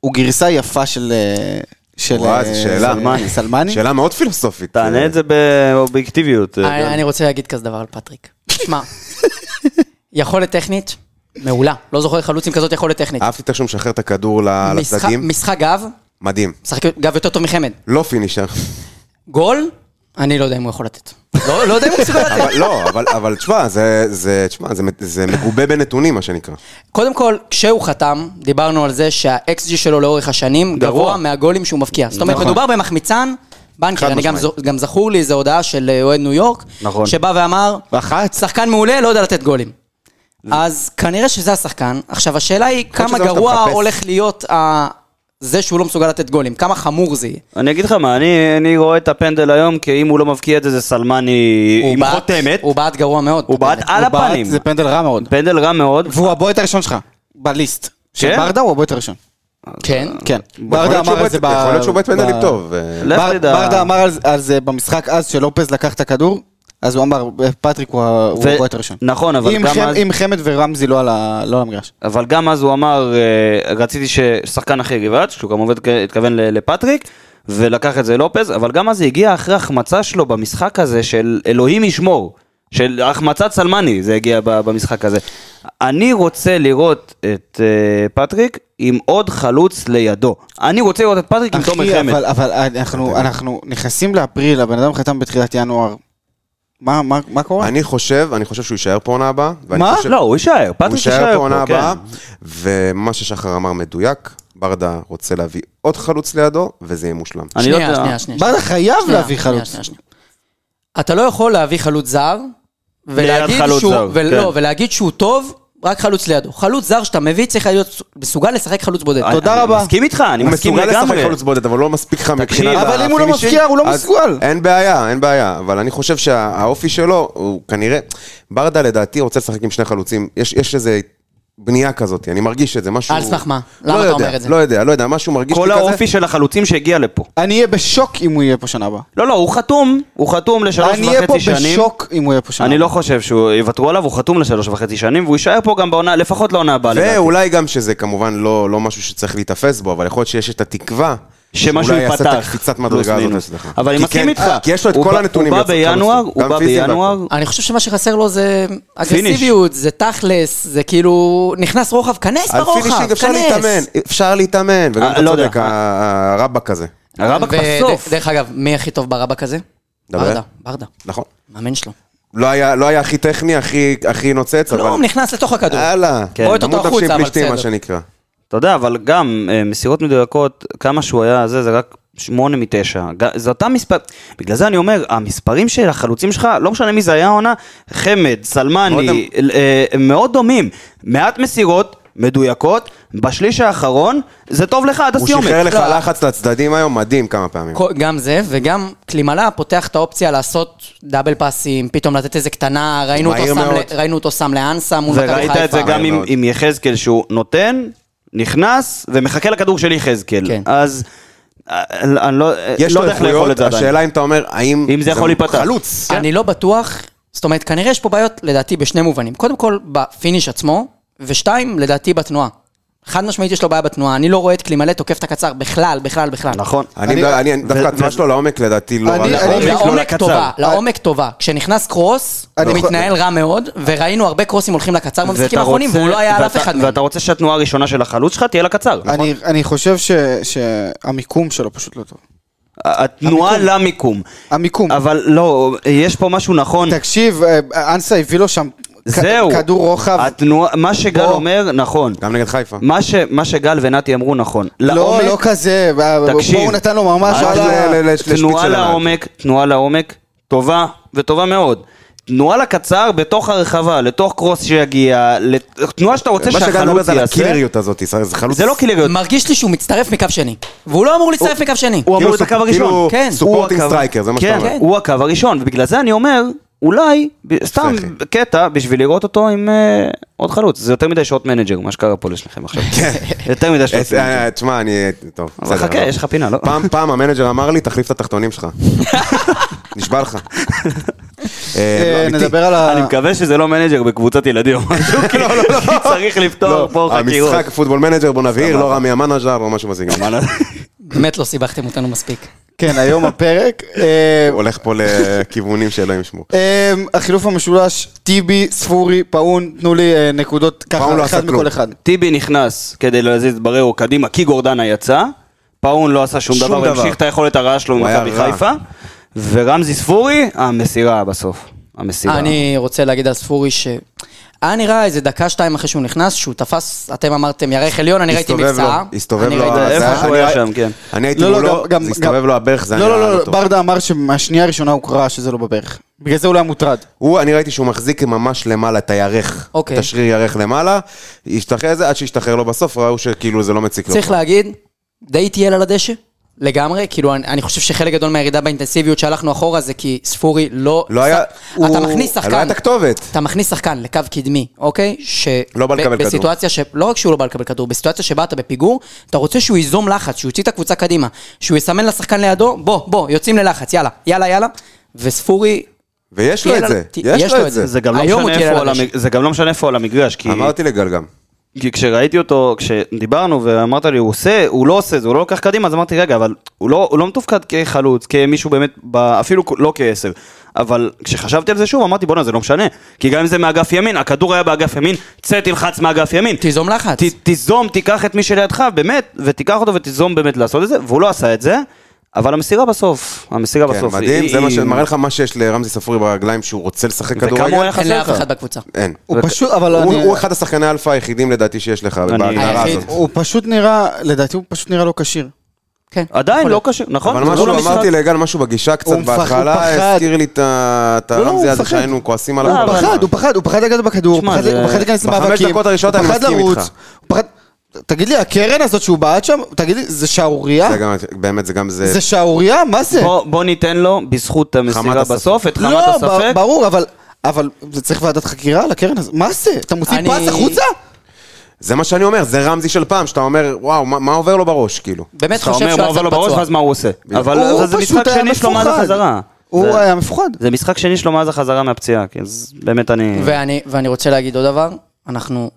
הוא גרסה יפה של... אה, של
וואי,
אה,
זו שאלה.
סלמני? סלמני?
שאלה מאוד פילוסופית.
תענה את זה באובייקטיביות. אה,
אני אני רוצה להגיד כזה דבר על פטריק. שמע, יכולת טכנית, מעולה. לא זוכר חלוצים כזאת יכולת טכנית.
אהבתי איך שהוא משחרר את הכדור ל-
משחק-
לצדדים.
משחק גב,
מדהים.
משחק גב יותר טוב מחמד.
לא פינישר.
גול, אני לא יודע אם הוא יכול לתת.
לא לא יודע אם הוא מסוגל לתת.
אבל לא, אבל- אבל תשמע, זה- זה תשמע, זה מ- זה מגובה בנתונים, מה שנקרא.
קודם כל, כשהוא חתם, דיברנו על זה שה-XG שלו לאורך השנים גבוה,
גבוה.
מהגולים שהוא מבקיע. זאת אומרת,
נכון.
מדובר במחמיצן, בנקר,
חד
אני גם,
משמעית.
זו- גם זכור לי איזו הודעה של אה, אוהד ניו יורק,
נכון.
שבא ואמר,
לחץ.
שחקן מעולה, לא יודע לתת גולים. אז כנראה שזה השחקן. עכשיו, השאלה היא כמה
שזה מה שאתה
גרוע
מחפש.
הולך להיות ה... זה שהוא לא מסוגל לתת גולים, כמה חמור זה יהיה.
אני אגיד לך מה, אני, אני רואה את הפנדל היום, כי אם הוא לא מבקיע את זה, זה סלמני
הוא
עם
בעט-
חותמת.
הוא בעט גרוע מאוד. כן.
הוא בעט
באמת.
על
הוא בעט,
הפנים.
זה פנדל רע מאוד.
פנדל רע מאוד.
והוא הבועט הראשון שלך, בליסט. של
כן?
ברדה הוא הבועט הראשון.
כן.
כן.
יכול
ברדה
להיות שהוא
אמר על זה ב...
בועט- יכול להיות שהוא בועט
ב-
פנדלים טוב. אה,
לך
בר-
תדע.
ברדה אמר על זה- על זה במשחק אז, שלופז לקח את הכדור, אז הוא אמר, "אה, פטריק הוא ה- הוא
ו-
הבועט הראשון.
נכון, אבל
עם
גם
חמ-
אז-
עם חמד ורמזי לא על ה- לא על המגרש.
אבל גם אז הוא אמר, אה, רציתי ששחקן אחר יבעט, שהוא גם עובד, התכוון ל- לפטריק, ולקח את זה לופז, אבל גם אז זה הגיע אחרי החמצה שלו במשחק הזה של אלוהים ישמור, של החמצת סלמני, זה הגיע ב- במשחק הזה. אני רוצה לראות את אה, פטריק עם עוד חלוץ לידו. אני רוצה לראות את פטריק עם תומר
אחי,
חמד.
אבל, אבל אנחנו, אנחנו נכנסים לאפריל, הבן אדם חתם בתחילת ינואר. מה, מה, מה קורה?
אני חושב, אני חושב שהוא יישאר פה עונה הבאה. ואני
מה?
חושב-
לא, הוא יישאר,
הוא
פטריק
יישאר פה
יישאר פה,
עונה
כן.
הבאה, ומה ששחר אמר מדויק, ברדה רוצה להביא עוד חלוץ לידו, וזה יהיה מושלם.
אני לא
שנייה,
יודע.
שנייה, שנייה.
ברדה חייב
שנייה,
להביא
שנייה,
חלוץ.
שנייה, שנייה. אתה לא יכול להביא חלוץ זר, ולהגיד
חלוץ
שהוא,
זר,
ולא,
כן.
ולהגיד שהוא טוב, רק חלוץ לידו. חלוץ זר שאתה מביא צריך להיות מסוגל לשחק חלוץ בודד.
אני-
תודה רבה.
אני מסכים איתך, אני
הוא
מסכים
מסוגל לשחק
לגמרי.
חלוץ בודד, אבל לא מספיק לך מבחינת
אבל אם הוא לא
הפינישים,
מבקיע, הוא לא
אז
מסוגל.
אין בעיה, אין בעיה. אבל אני חושב שהאופי שלו, הוא כנראה... ברדה לדעתי רוצה לשחק עם שני חלוצים. יש יש איזה... בנייה כזאת, אני מרגיש את זה, משהו...
על סמך מה?
לא
למה אתה
יודע,
אומר את זה?
לא יודע, לא יודע, משהו מרגיש לי
כל
כזה.
האופי של החלוצים שהגיע לפה.
אני אהיה בשוק אם הוא יהיה פה שנה הבאה.
לא, לא, הוא חתום, הוא חתום לשלוש
אני אהיה פה
וחצי שנים.
בשוק אם הוא יהיה פה שנה
אני
הבאה.
לא חושב שיוותרו עליו, הוא חתום לשלוש וחצי שנים, והוא יישאר פה גם בעונה, לפחות לעונה הבאה לדעתי.
ואולי גם שזה כמובן לא, לא משהו שצריך להיתפס בו, אבל יכול להיות שיש את התקווה.
שמשהו
שאולי
ייפתח.
יעשה את הקפיצת
פלוס
מדרגה הזאת
מינוס.
אצלך.
אבל אני
כי
מסכים
כן,
איתך.
כי יש לו את
הוא
כל
בא-
הנתונים.
הוא בא
לצאת חלוץ,
בינואר, הוא
גם
בא
פיזי והכל.
בינואר.
אני חושב שמה שחסר לו זה אגרסיביות, זה תכלס, זה כאילו נכנס רוחב, כנס
על
ברוחב,
פינישינג אפשר
כנס.
להתאמן, אפשר להתאמן, וגם
אה,
אתה
לא יודע.
צודק, ה- ה- הרבאק הזה,
הרבק
ו-
בסוף.
ד- דרך אגב, מי הכי טוב ברבק הזה?
דבר.
ברדה, ברדה,
נכון?
מאמן שלו.
לא היה לא היה הכי טכני, הכי- הכי נוצץ, אבל...
כלום, נכנס לתוך הכדור.
יאללה.
כן. בועט
אותו
עמוד
החוצה,
נפשי
אבל
פלישתים, מה
בסדר.
שנקרא.
אתה יודע, אבל גם אה, מסירות מדויקות, כמה שהוא היה, זה, זה רק שמונה מתשע. ג- זה אותם מספר... בגלל זה אני אומר, המספרים של החלוצים שלך, לא משנה מי זה היה העונה, חמד,
מאוד
סלמני,
דמ-
אה, הם מאוד דומים. מעט מסירות, מדויקות, בשליש האחרון, זה טוב לך עד
הוא
הסיומת.
שחרר לך
לא.
לחץ לצדדים היום, מדהים כמה פעמים.
כל- גם זה, וגם קלימלה פותח את האופציה לעשות דאבל פאסים, פתאום לתת איזה קטנה, ראינו אותו
מהיר
שם
מאוד.
ל- ראינו אותו שם לאנסה מול מכבי חיפה.
וראית את זה גם עם,
מאוד.
עם יחזקאל שהוא נותן, נכנס ומחכה לכדור של יחזקאל.
כן.
אז אה, אני לא, אה,
יש
לא
לו
יודע איך לאכול את
איכויות,
זה עדיין.
השאלה אם אתה אומר, האם...
אם זה יכול להיפתח. כן,
חלוץ.
אני לא בטוח, זאת אומרת, כנראה יש פה בעיות, לדעתי, בשני מובנים. קודם כל, בפיניש עצמו, ושתיים, לדעתי, בתנועה. חד משמעית יש לו בעיה בתנועה, אני לא רואה את קלימלה תוקף את הקצר בכלל, בכלל, בכלל.
נכון.
אני לא-
אני-
אני- דווקא התנועה שלו לעומק לדעתי לא...
אני-
רע.
אני-
לעומק, לא
לעומק
לקצר.
טובה, לעומק טובה. כשנכנס קרוס,
אני
הוא
יכול-
מתנהל רע מאוד, וראינו הרבה קרוסים הולכים לקצר במשחקים
ואתה
האחרונים,
רוצה-
והוא לא היה על אף
ואתה-
אחד מהם.
ואתה רוצה שהתנועה הראשונה של החלוץ שלך תהיה לקצר.
נכון?
אני, אני חושב ש, שהמיקום שלו פשוט לא טוב.
התנועה למיקום.
המיקום.
אבל לא, יש פה משהו נכון.
תקשיב, אה, אנסה הביא לו שם כ-
זהו.
כדור רוחב. לא.
התנועה- מה שגל
בוא.
אומר, נכון.
גם נגד חיפה.
מה ש- מה שגל ונתי אמרו נכון.
לא,
לעומק-
לא כזה,
תקשיב.
פה הוא נתן לו ממש
אה,
על
לא,
ה...
לא, לא. לש- לשפיץ
תנועה
של
לעומק, תנועה לעומק, טובה, וטובה מאוד. תנועה לקצר בתוך הרחבה, לתוך קרוס שיגיע, לת- תנועה שאתה רוצה
מה שגם מדבר
שהחלוץ
זה על
יעשה.
הקילריות הזאת, זה חלוץ...
זה לא קילריות,
מרגיש לי שהוא מצטרף מקו שני, והוא לא אמור להצטרף מקו שני.
הוא אמור
כאילו
להיות הקו
סופ-
הראשון.
כאילו
כן.
supporting
הוא הקו-
striker, זה מה שאתה
כן,
אומר.
כן. הוא הקו הראשון, ובגלל זה אני אומר, אולי, ב- סתם
ספחי.
קטע, בשביל לראות אותו עם אה, עוד חלוץ. זה יותר מדי שעות מנג'ר, מה שקרה פה לשניכם עכשיו. יותר מדי שעות
כן. אה,
מנג'ר.
אה, תשמע, אני... טוב,
אבל
בסדר,
חכה,
לא.
יש לך פינה, לא?
פעם, פעם המנג'ר אמר לי, תחליף את התחתונים שלך. נשבע לך. אה,
אה,
לא, אמיתי.
נדבר על ה...
אני מקווה שזה לא מנג'ר בקבוצת ילדים או משהו, כי כי צריך לפתור פה
לא,
חקירות.
המשחק פוטבול מנג'ר, בוא נבהיר, לא רמי המנג'ר או משהו מזיק.
באמת לא סיבכתם אותנו מספיק.
כן, היום הפרק. אה,
הולך פה לכיוונים שאלוהים ישמעו.
אה, החילוף המשולש, טיבי, ספורי, פאון, תנו לי אה, נקודות
פאון
ככה,
לא עשה
אחד
כלום.
מכל אחד.
טיבי נכנס כדי להזיז את בררו קדימה, כי גורדנה יצא, פאון לא עשה שום
שום
דבר,
דבר.
המשיך את היכולת הרעה שלו
הוא היה
ממכבי
רע.
חיפה, ורמזי ספורי, המסירה בסוף. המסירה.
אני רוצה להגיד על ספורי ש... היה נראה איזה דקה, שתיים אחרי שהוא נכנס, שהוא תפס, אתם אמרתם ירך עליון, אני ראיתי
הסתובב
מבצעה.
לו, הסתובב
אני
לו,
ראיתי
ה-
איפה
זה
מבצעה.
שהוא
אני
היה
ראי-
שם, כן.
אני הייתי מולו, זה הסתובב לו הברך, זה היה
לא, לא,
נראה
לא,
לא
לא,
טוב.
ברדה אמר שמהשנייה הראשונה הוא קרא שזה לא בברך. בגלל זה הוא לא היה מוטרד.
הוא, אני ראיתי שהוא מחזיק ממש למעלה את הירך,
אוקיי.
את השריר ירך למעלה, השתחרר זה, עד שהשתחרר לו בסוף, ראו שכאילו זה לא מציק לו.
צריך להגיד, די טייל על הדשא, לגמרי. כאילו, אני, אני חושב שחלק גדול מהירידה באינטנסיביות שהלכנו אחורה זה כי ספורי לא...
לא היה,
הוא... אתה מכניס שחקן...
לא היה את הכתובת.
אתה מכניס שחקן לקו קדמי, אוקיי? ש...
לא בא
ב-
לקבל כדור.
בסיטואציה ש... לא רק שהוא לא בא לקבל כדור, בסיטואציה שבה אתה בפיגור, אתה רוצה שהוא ייזום לחץ, שהוא יוציא את הקבוצה קדימה, שהוא יסמן לשחקן לידו, בוא, בוא, יוצאים ללחץ, יאללה, יאללה, יאללה. וספורי...
ויש לו את
טייל על-
זה,
ט-
יש לו את זה.
זה גם לא
היום הוא
משנה
טייל
איפה
על
על
הדשא.
המג- זה גם לא משנה איפה הוא על המגרש, כי...
אמרתי לגל גם. כן,
כי כשראיתי אותו, כשדיברנו ואמרת לי, הוא עושה, הוא לא עושה את זה, הוא לא לוקח קדימה, אז אמרתי, רגע, אבל הוא לא, הוא לא מתופקד כחלוץ, כמישהו באמת, ב, אפילו לא כעשר. אבל כשחשבתי על זה שוב, אמרתי, בואנה, זה לא משנה. כי גם אם זה מאגף ימין, הכדור היה באגף ימין, צא תלחץ מאגף ימין.
תיזום לחץ.
ת, תיזום, תיקח את מי שלידך, באמת, ותיקח אותו ותיזום באמת לעשות את זה, והוא לא עשה את זה, אבל המסירה בסוף, המסירה
כן,
בסוף.
מדהים,
היא-
זה מה
היא-
שמראה לך מה שיש לרמזי ספורי ברגליים, שהוא רוצה לשחק
וכמה הוא היה
כדורגל,
חסר
אין לאף
לך.
אחד בקבוצה.
אין.
הוא פשוט, אבל לא,
הוא-
אני-
הוא אחד השחקני האלפא היחידים לדעתי שיש לך, בהגדרה
היחיד.
הזאת.
הוא פשוט נראה, לדעתי הוא פשוט נראה לא כשיר.
כן.
אה,
עדיין
יכול
לא
להיות.
קשה, נכון?
אבל
זה
משהו,
לא משחק.
אמרתי לגל משהו בגישה קצת
הוא מפח- הוא פחד.
בהתחלה, הזכיר לי את ה- את
לא, הוא
הרמזי הזה
מפחד.
שהיינו כועסים עליו.
לא,
כל
הוא
אבל-
הזמן.
פחד, הוא פחד, הוא פחד לגעת בכדור, הוא
שמע,
פחד
זה-
הוא פחד להיכנס
בחמש
למאבקים,
דקות הראשונות
הוא
אני
פחד
מסכים
לרוץ,
איתך.
הוא פחד... תגיד לי, הקרן הזאת שהוא בעט שם, תגיד לי, זה שערורייה?
זה גם, באמת, זה גם זה.
זה שערורייה? מה זה?
בוא, בוא ניתן לו, בזכות
חמת
המסירה
הספק.
בסוף, את חמת
לא, ב-
הספק.
ברור, אבל... אבל זה צריך ועדת חקירה על הקרן הזאת. מה זה? אתה מוציא
אני-
פס החוצה?
זה מה שאני אומר, זה רמזי של פעם, שאתה אומר, וואו, מה, מה עובר לו בראש, כאילו?
באמת
אתה
חושב
אומר,
שהוא
מה
היה
עובר לו
צריך
בראש,
פצוע.
ואז מה הוא עושה? אבל
הוא
אבל זה
פשוט
משחק
היה
שני שלו מאז
מפוחד.
החזרה.
הוא
זה-
היה מפוחד.
זה משחק שני שלו מאז החזרה מהפציעה, כי אז באמת אני...
ואני, ואני רוצה להגיד עוד דבר, אנחנו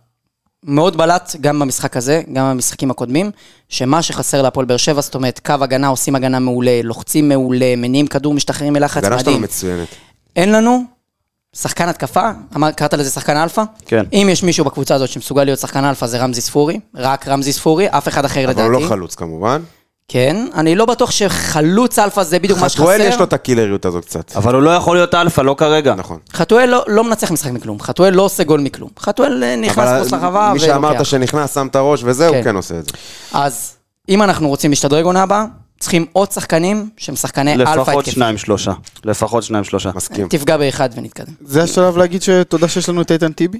מאוד בלט גם במשחק הזה, גם במשחקים הקודמים, שמה שחסר להפועל באר שבע, זאת אומרת, קו הגנה, עושים הגנה מעולה, לוחצים מעולה, מניעים כדור, משתחררים מלחץ,
הגנה לא שלנו
מדהים.
מצוינת.
אין לנו שחקן התקפה, אמר, קראת לזה שחקן אלפא?
כן.
אם יש מישהו בקבוצה הזאת שמסוגל להיות שחקן אלפא, זה רמזי ספורי, רק רמזי ספורי, אף אחד אחר
אבל
לדעתי.
הוא לא חלוץ כמובן.
כן, אני לא בטוח שחלוץ אלפא זה בדיוק מה שחסר.
חתואל יש לו את הקילריות הזו קצת.
אבל הוא לא יכול להיות אלפא, לא כרגע.
נכון.
חתואל לא, לא מנצח משחק מכלום, חתואל לא עושה גול מכלום. חתואל אה, נכנס
אבל
פה לרחבה
מי שאמרת שנכנס, שם את הראש וזה, הוא
כן.
כן עושה את זה.
אז אם אנחנו רוצים להשתדרג עונה הבאה, צריכים עוד שחקנים שהם שחקני אלפא התקפי.
לפחות שניים שלושה. לפחות שניים שלושה.
מסכים.
תפגע באחד ונתקדם.
זה השלב להגיד שתודה שיש לנו את איתן טיבי?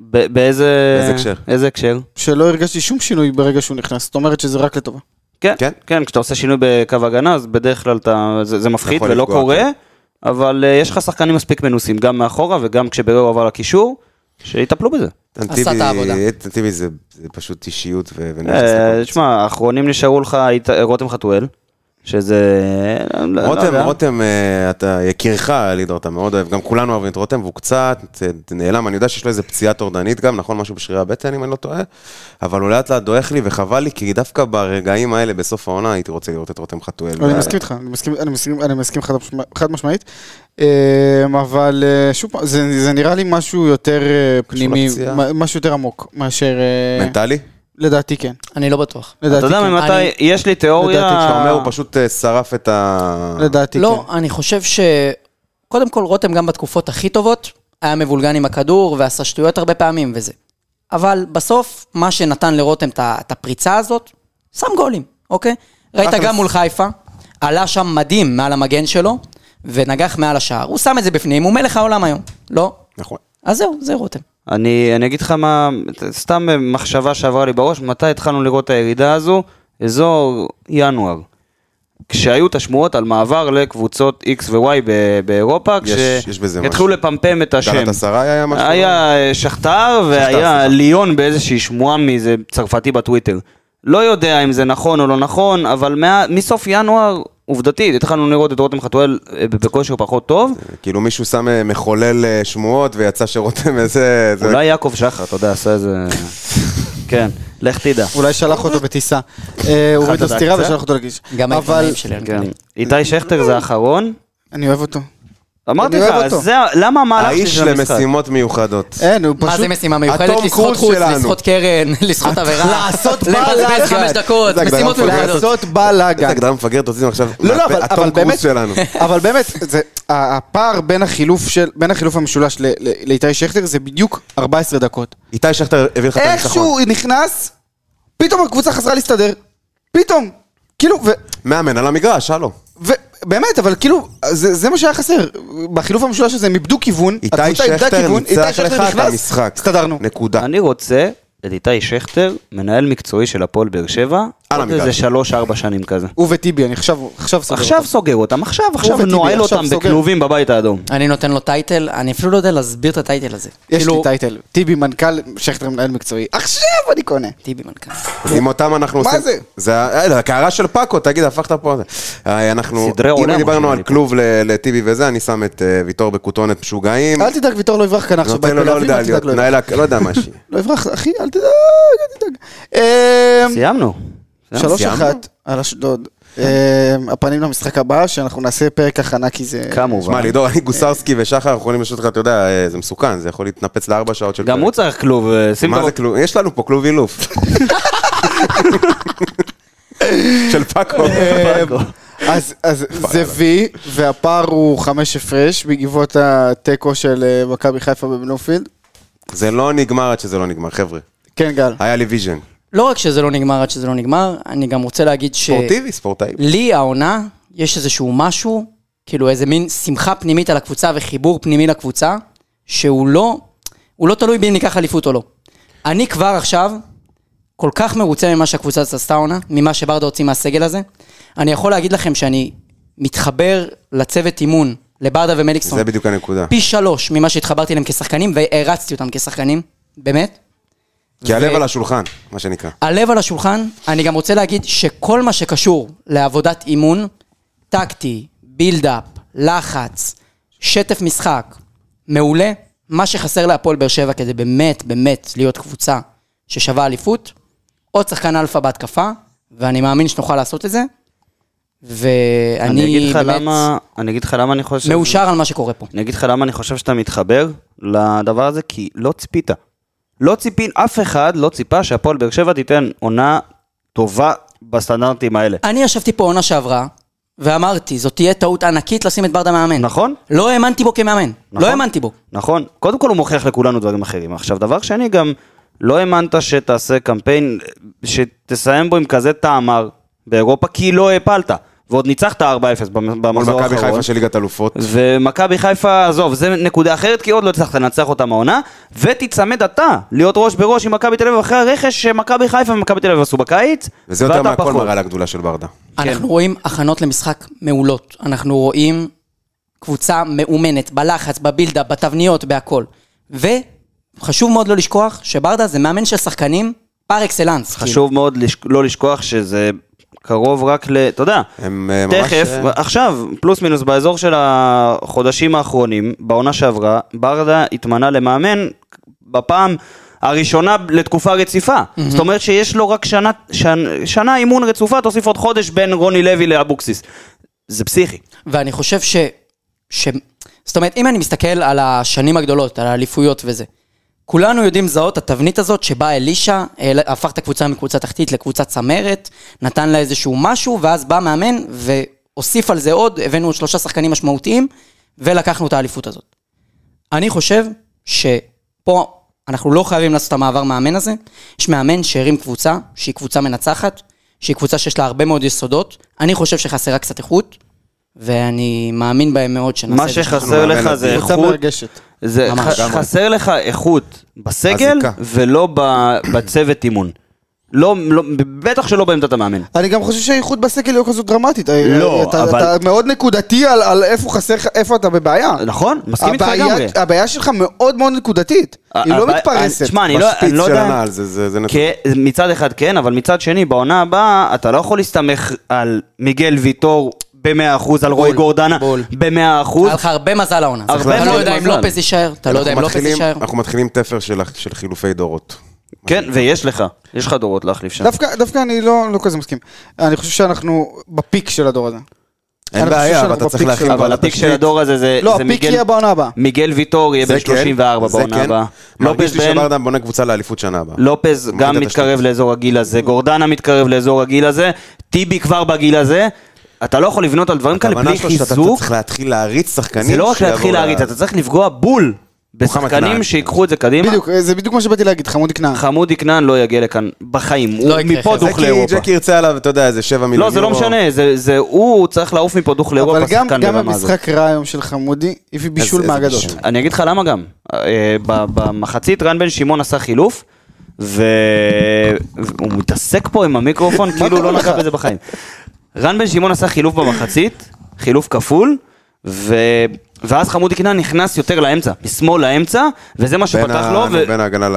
ב- באיזה...
באיזה הקשר?
איזה הקשר?
שלא הרגשתי שום שינוי ברגע שהוא נכנס, זאת אומרת שזה רק לטובה.
כן,
כן.
כן, כשאתה עושה שינוי בקו הגנה, אז בדרך כלל אתה, זה, זה מפחית
יכול
ולא
לפגוע,
קורה,
כן.
אבל אה, יש לך שחקנים מספיק מנוסים, גם מאחורה וגם כשבררו עבר לקישור, שיטפלו בזה.
איתן
עשה את
טיבי-
העבודה.
איתן טיבי זה זה פשוט אישיות ו- ונכס לכל.
אה, תשמע, האחרונים נשארו לך היית- רותם חתואל, שזה... לא- לא
רותם,
יודע.
רותם, אה, אתה יקירך, לידור, אתה מאוד אוהב, גם כולנו אוהבים את רותם, והוא קצת אה, נעלם, אני יודע שיש לו איזה פציעה טורדנית גם, נכון? משהו בשרירי הבטן, אם אני לא טועה, אבל הוא לאט לאט דועך לי, וחבל לי, כי דווקא ברגעים האלה, בסוף העונה, הייתי רוצה לראות את רותם חתואל.
אני
ו-
מסכים איתך, אני מסכים- אני מסכים- אני מסכים חד משמע- חד משמעית, אמ, אבל אה, שוב פעם, זה זה נראה לי משהו יותר אה, פנימי,
לפציעה.
מה- משהו יותר עמוק מאשר... אה,
מנטלי?
לדעתי כן,
אני לא בטוח.
לדעתי
אתה יודע
כן.
ממתי,
אני-
יש לי תיאוריה...
לדעתי,
כשאתה אומר, הוא פשוט אה, שרף את ה...
לדעתי
לא,
כן.
אני חושב ש... קודם כל, רותם גם בתקופות הכי טובות, היה מבולגן עם הכדור ועשה שטויות הרבה פעמים וזה. אבל בסוף, מה שנתן לרותם את ה- את הפריצה הזאת, שם גולים, אוקיי? ראית
אחלה.
גם מול חיפה, עלה שם מדהים מעל המגן שלו, ונגח מעל השער. הוא שם את זה בפנים, הוא מלך העולם היום. לא?
נכון.
אז זהו, זה רותם.
אני, אני אגיד לך מה, סתם מחשבה שעברה לי בראש, מתי התחלנו לראות את הירידה הזו? אזור ינואר. כשהיו את השמועות על מעבר לקבוצות X ו-Y ב- באירופה,
יש- יש בזה
כשהתחילו
משהו.
לפמפם את השם.
גלת עשרה היה משהו?
היה אה, שכתר
סליחה.
והיה ליון באיזושהי שמועה מאיזה צרפתי בטוויטר. לא יודע אם זה נכון או לא נכון, אבל מה, מסוף ינואר, עובדתית, התחלנו לראות את רותם חתואל אה, בכושר פחות טוב.
כאילו מישהו שם אה, מחולל אה, שמועות, ויצא שרותם איזה... זה-
אולי יעקב שחר, אתה יודע, עשה איזה... כן, לך תדע.
אולי שלח אותו בטיסה, אה, הוא הוריד לו
לדעת
סטירה
זה?
ושלח אותו לגיש.
גם
אבל
העיתונאים שלי.
כן. איתי שכטר זה האחרון,
אני אוהב אותו.
אמרתי
אני
לך,
אוהב אותו.
אז זה, למה
אה, לא,
המהלך שלי
האיש
של המשחק?
למשימות מיוחדות.
אין, הוא פשוט...
מה זה משימה מיוחדת?
הטום
לסחוט
קרוז
חוץ,
שלנו.
לסחוט קרן, לסחוט עבירה. לבזבז חמש דקות,
זה הגדרה
משימות
מפגרת.
מיוחדות.
לעשות
איזה
בלאגן.
הגדרה מפגרת עושים עכשיו.
לא, לא,
מהפה-
אבל,
הטום
אבל
קרוז
באמת,
שלנו.
אבל באמת, זה, ה- הפער בין החילוף, של, בין החילוף המשולש ל- ל- לאיתי שכטר זה בדיוק 14 דקות.
איתי שכטר הביא לך את הניצחון.
איכשהו נכנס, פתאום הקבוצה חזרה להסתדר. פתאום. כאילו, ו...
מאמן על המגרש, הלו.
ובאמת, אבל כאילו, זה, זה מה שהיה חסר. בחילוף המשולש הזה הם איבדו כיוון,
איתי
הקבוצה איבדה
שכטר
כיוון, איתי
ניצח
שכטר
לך את
נכנס,
המשחק.
הסתדרנו.
נקודה.
אני רוצה את איתי שכטר, מנהל מקצועי של הפועל באר שבע,
על
עוד
המגרש.
איזה שלוש-ארבע שנים כזה.
הוא וטיבי, אני עכשיו, עכשיו סוגר
עכשיו
אותם.
סוגר אותם, עכשיו, עכשיו
וטיבי,
נועל
עכשיו
אותם
סוגר.
בכלובים בבית האדום.
אני נותן לו טייטל, אני אפילו לא יודע להסביר את הטייטל הזה.
יש
כאילו,
לי טייטל, טיבי מנכ"ל, שכטר מנהל מקצועי. עכשיו אני קונה.
טיבי מנכ"ל.
אז עם אותם אנחנו
מה
עושים...
זה?
זה ה- אה, הקערה של פאקו, תגיד, הפכת פה... אה, אנחנו...
סדרי עולם,
אם
מה
דיברנו על
שאני
כלוב ל- לטיבי וזה, אני שם את אה, ויטור בכותונת משוגעים.
אל תדאג, ויטור לא יברח כאן עכשיו.
נותן לו
בהפועל
לא
אביב, אל
יודע
תדאג,
להיות
לא יברח.
מנהל... ה- לא יודע מה שהיא.
לא יברח, אחי, אל תדאג, אל תדאג. אמ,
סיימנו. סיימנו.
שלוש
סיימנו?
אחת על אשדוד. אמ, הפנים למשחק הבא, שאנחנו נעשה פרק הכנה כי זה...
כמובן.
שמע, לידור, אני גוסרסקי ושחר יכולים לשאול אותך, אתה יודע, אה, זה מסוכן, זה יכול להתנפץ לארבע שעות של...
גם
פרק.
הוא צריך כלוב, אה, שים
מה זה
את
כלוב? יש לנו פה כלוב אילוף. של פאקו.
הפרקו.
אמ, אז אז זה וי, והפער הוא חמש הפרש בעקבות התיקו של אה, מכבי חיפה בבלומפילד.
זה לא נגמר עד שזה לא נגמר, חבר'ה.
כן, גל.
היה לי
אה,
ויז'ן.
לא רק שזה לא נגמר עד שזה לא נגמר, אני גם רוצה להגיד ש...
ספורטיבי, ספורטאי.
לא.
לי העונה, יש איזשהו משהו, כאילו איזה מין שמחה פנימית על הקבוצה וחיבור פנימי לקבוצה, שהוא לא, הוא לא תלוי בי אם ניקח אליפות או לא. אני כבר עכשיו כל כך מרוצה ממה שהקבוצה הזאת עשתה עונה, ממה שברדה הוציא מהסגל הזה. אני יכול להגיד לכם שאני מתחבר לצוות אימון, לברדה ומליקסון,
זה בדיוק הנקודה.
פי שלוש ממה שהתחברתי אליהם כשחקנים, והערצתי אותם כשחקנים, באמת.
כי
ו-
הלב על השולחן, מה שנקרא.
הלב על השולחן, אני גם רוצה להגיד שכל מה שקשור לעבודת אימון, טקטי, בילדאפ, לחץ, שטף משחק, מעולה, מה שחסר להפועל באר שבע כדי באמת באמת להיות קבוצה ששווה אליפות, עוד שחקן אלפא בהתקפה, ואני מאמין שנוכל לעשות את זה,
אני אגיד
ואני
לך
באמת
למה, אני אגיד לך למה אני חושב...
מאושר על מה שקורה פה.
אני אגיד לך למה אני חושב שאתה מתחבר לדבר הזה, כי לא ציפית. לא ציפין, אף אחד לא ציפה שהפועל באר שבע תיתן עונה טובה בסטנדרטים האלה.
אני ישבתי פה עונה שעברה, ואמרתי, זאת תהיה טעות ענקית לשים את ברדה מאמן.
נכון?
לא האמנתי בו כמאמן,
נכון?
לא האמנתי בו.
נכון. קודם כל הוא מוכיח לכולנו דברים אחרים. עכשיו, דבר שני, גם לא האמנת שתעשה קמפיין, שתסיים בו עם כזה טעמר באירופה, כי לא העפלת. ועוד ניצחת 4-0 במ-
מול
במחזור
מכבי
האחרון.
חיפה של ליגת אלופות.
ומכבי חיפה, עזוב, זה נקודה אחרת, כי עוד לא הצלחת לנצח אותם העונה, ותיצמד אתה להיות ראש בראש עם מכבי תל אביב אחרי הרכש שמכבי חיפה ומכבי תל אביב עשו בקיץ,
וזה יותר
ואתה
מהכל
פחות.
מראה על הגדולה של ברדה.
כן.
אנחנו רואים הכנות למשחק מעולות. אנחנו רואים קבוצה מאומנת, בלחץ, בבילדה, בתבניות, בהכל. וחשוב מאוד לא לשכוח שברדה זה מאמן של שחקנים פר אקסלנס. כאילו.
חשוב מאוד לש... לא לשכוח שזה קרוב רק ל... אתה יודע,
הם אה, ממש...
תכף,
אה,
עכשיו, פלוס מינוס, באזור של החודשים האחרונים, בעונה שעברה, ברדה התמנה למאמן בפעם הראשונה לתקופה רציפה. זאת אומרת שיש לו רק שנה, שנ- שנה אימון רצופה, תוסיף עוד חודש בין רוני לוי לאבוקסיס. זה פסיכי.
ואני חושב ש... ש... זאת אומרת, אם אני מסתכל על השנים הגדולות, על האליפויות וזה, כולנו יודעים לזהות את התבנית הזאת שבה אלישע העלה- הפך את הקבוצה מקבוצה תחתית לקבוצה צמרת, נתן לה איזשהו משהו, ואז בא מאמן והוסיף על זה עוד, הבאנו עוד שלושה שחקנים משמעותיים, ולקחנו את האליפות הזאת. אני חושב שפה אנחנו לא חייבים לעשות את המעבר מאמן הזה. יש מאמן שהרים קבוצה, שהיא קבוצה מנצחת, שהיא קבוצה שיש לה הרבה מאוד יסודות. אני חושב שחסרה קצת איכות, ואני מאמין בהם מאוד שנעשה
מה
את זה.
שחסר
אנחנו
לך
מאמן
זה
אדיר.
קבוצה
איכות,
מרגשת.
זה
ממש.
ח-
לגמרי.
חסר לך איכות בסגל
הזיקה.
ולא ב- בצוות אימון. לא, לא- בטח שלא בעמדת המאמן.
אני גם חושב שהאיחוד בסגל לא כזו דרמטית. אה,
לא,
אתה-
אבל-
אתה מאוד נקודתי על- על איפה חסר לך, איפה אתה בבעיה.
נכון? מסכים איתך
הבעיה-
לגמרי.
הבעיה שלך מאוד מאוד נקודתית. היא לא
הבעיה-
מתפרסת.
תשמע, אני לא אני
בשפיץ
לא
של
יודע...
הנעל, זה- זה זה נתון.
כן, מצד אחד כן, אבל מצד שני, בעונה הבאה, אתה לא יכול להסתמך על מיגל ויטור ב-100%, על רוי
בול,
גורדנה
בול.
ב-100%.
היה לך הרבה מזל העונה.
הרבה
אתה לא
מאוד
יודע אם
מזל.
לופז יישאר, אתה לא יודע אם
אנחנו
לופז
מתחילים-
יישאר.
אנחנו מתחילים תפר של של חילופי דורות.
כן, ויש לך. יש לך דורות להחליף שם.
דווקא, דווקא אני לא, לא כזה מסכים. אני חושב שאנחנו בפיק של הדור הזה.
אין
אני חושב
בעיה, אבל
שאנחנו
אתה צריך
בפיק
להכין
של-
כבר
אבל
לתשתית.
הפיק של הדור הזה זה
לא,
זה
הפיק
מיגל-
יהיה בעונה הבאה.
מיגל ויטור יהיה
זה
בן
כן,
34
זה
בעונה
כן.
הבאה. לא
מרגיש
לופז
לי
בן,
שברדה בונה קבוצה לאליפות שנה הבאה.
לופז
הוא
גם
מכיר את
מתקרב
התשתית.
לאזור הגיל הזה, גורדנה מתקרב לאזור הגיל הזה, טיבי כבר בגיל הזה. אתה לא יכול לבנות על דברים כאלה
הכוונה
בלי
שלו שאתה- אתה
חיזוק.
צריך להתחיל להריץ שחקנים.
זה לא רק
שיבואו
להתחיל
ל-
להריץ, אתה צריך לפגוע בול
מוחמד
בשחקנים
כנען.
שיקחו את זה קדימה.
בדיוק, אה, זה בדיוק מה שבאתי להגיד, חמודי כנען.
חמודי כנען לא יגיע לכאן בחיים, הוא
יקרה,
מפה
חבר'ה.
דוך
ג'קי-
לאירופה.
ג'קי ירצה עליו, אתה יודע, איזה שבע מיליון
לא, זה לא
יורו.
משנה, זה- זה- הוא צריך לעוף מפה דוך
אבל
לאירופה,
גם
שחקן
גם
ברמה הזאת.
במשחק רע היום של חמודי, הביא בישול
איזה
מהאגדות.
בישול.
אני אגיד לך למה גם. אה, ב- במחצית רן בן שמעון עשה חילוף, והוא מתעסק פה עם המיקרופון, כאילו לא נגע בזה בחיים. רן בן שמעון עשה חילוף במחצית, חילוף כפול, ו... ואז חמודי כנען נכנס יותר לאמצע, משמאל לאמצע, וזה מה
בין
שפתח
ה-
לו, ו-
בין ההגנה ל...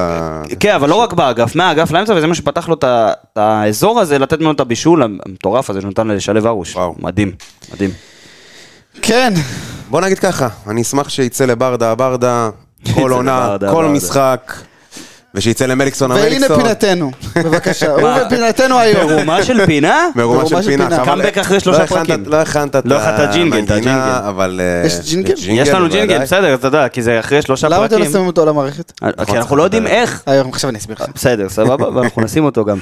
כן, אבל לא רק באגף, מהאגף לאמצע, וזה מה שפתח לו את ה- את האזור הזה, לתת ממנו את הבישול המטורף הזה שנתן לשלב הרוש.
וואו.
מדהים, מדהים.
כן,
בוא נגיד ככה, אני אשמח שיצא לברדה הברדה, כל
יצא
עונה,
לברדה
כל
הברדה.
משחק, ושיצא למליקסון
והנה
המליקסון.
פינתנו. בבקשה, הוא
מה?
ופינתנו היום.
תרומה של פינה?
מרומה של פינה. חבל.
קאמבק אחרי שלושה
לא הכנת-
פרקים.
לא הכנת את
לא הכנת את הג'ינגל, את
המנגינה,
הג'ינגל.
אבל... אה,
יש ג'ינגל?
יש לנו
בוודאי.
ג'ינגל, בסדר, אתה יודע, כי זה אחרי שלושה
למה אתם לא
פרקים.
שמים אותו למערכת?
אה, כי אנחנו לא יודעים איך.
היום, עכשיו אני אסביר לך.
בסדר, סבבה, ואנחנו נשים אותו גם.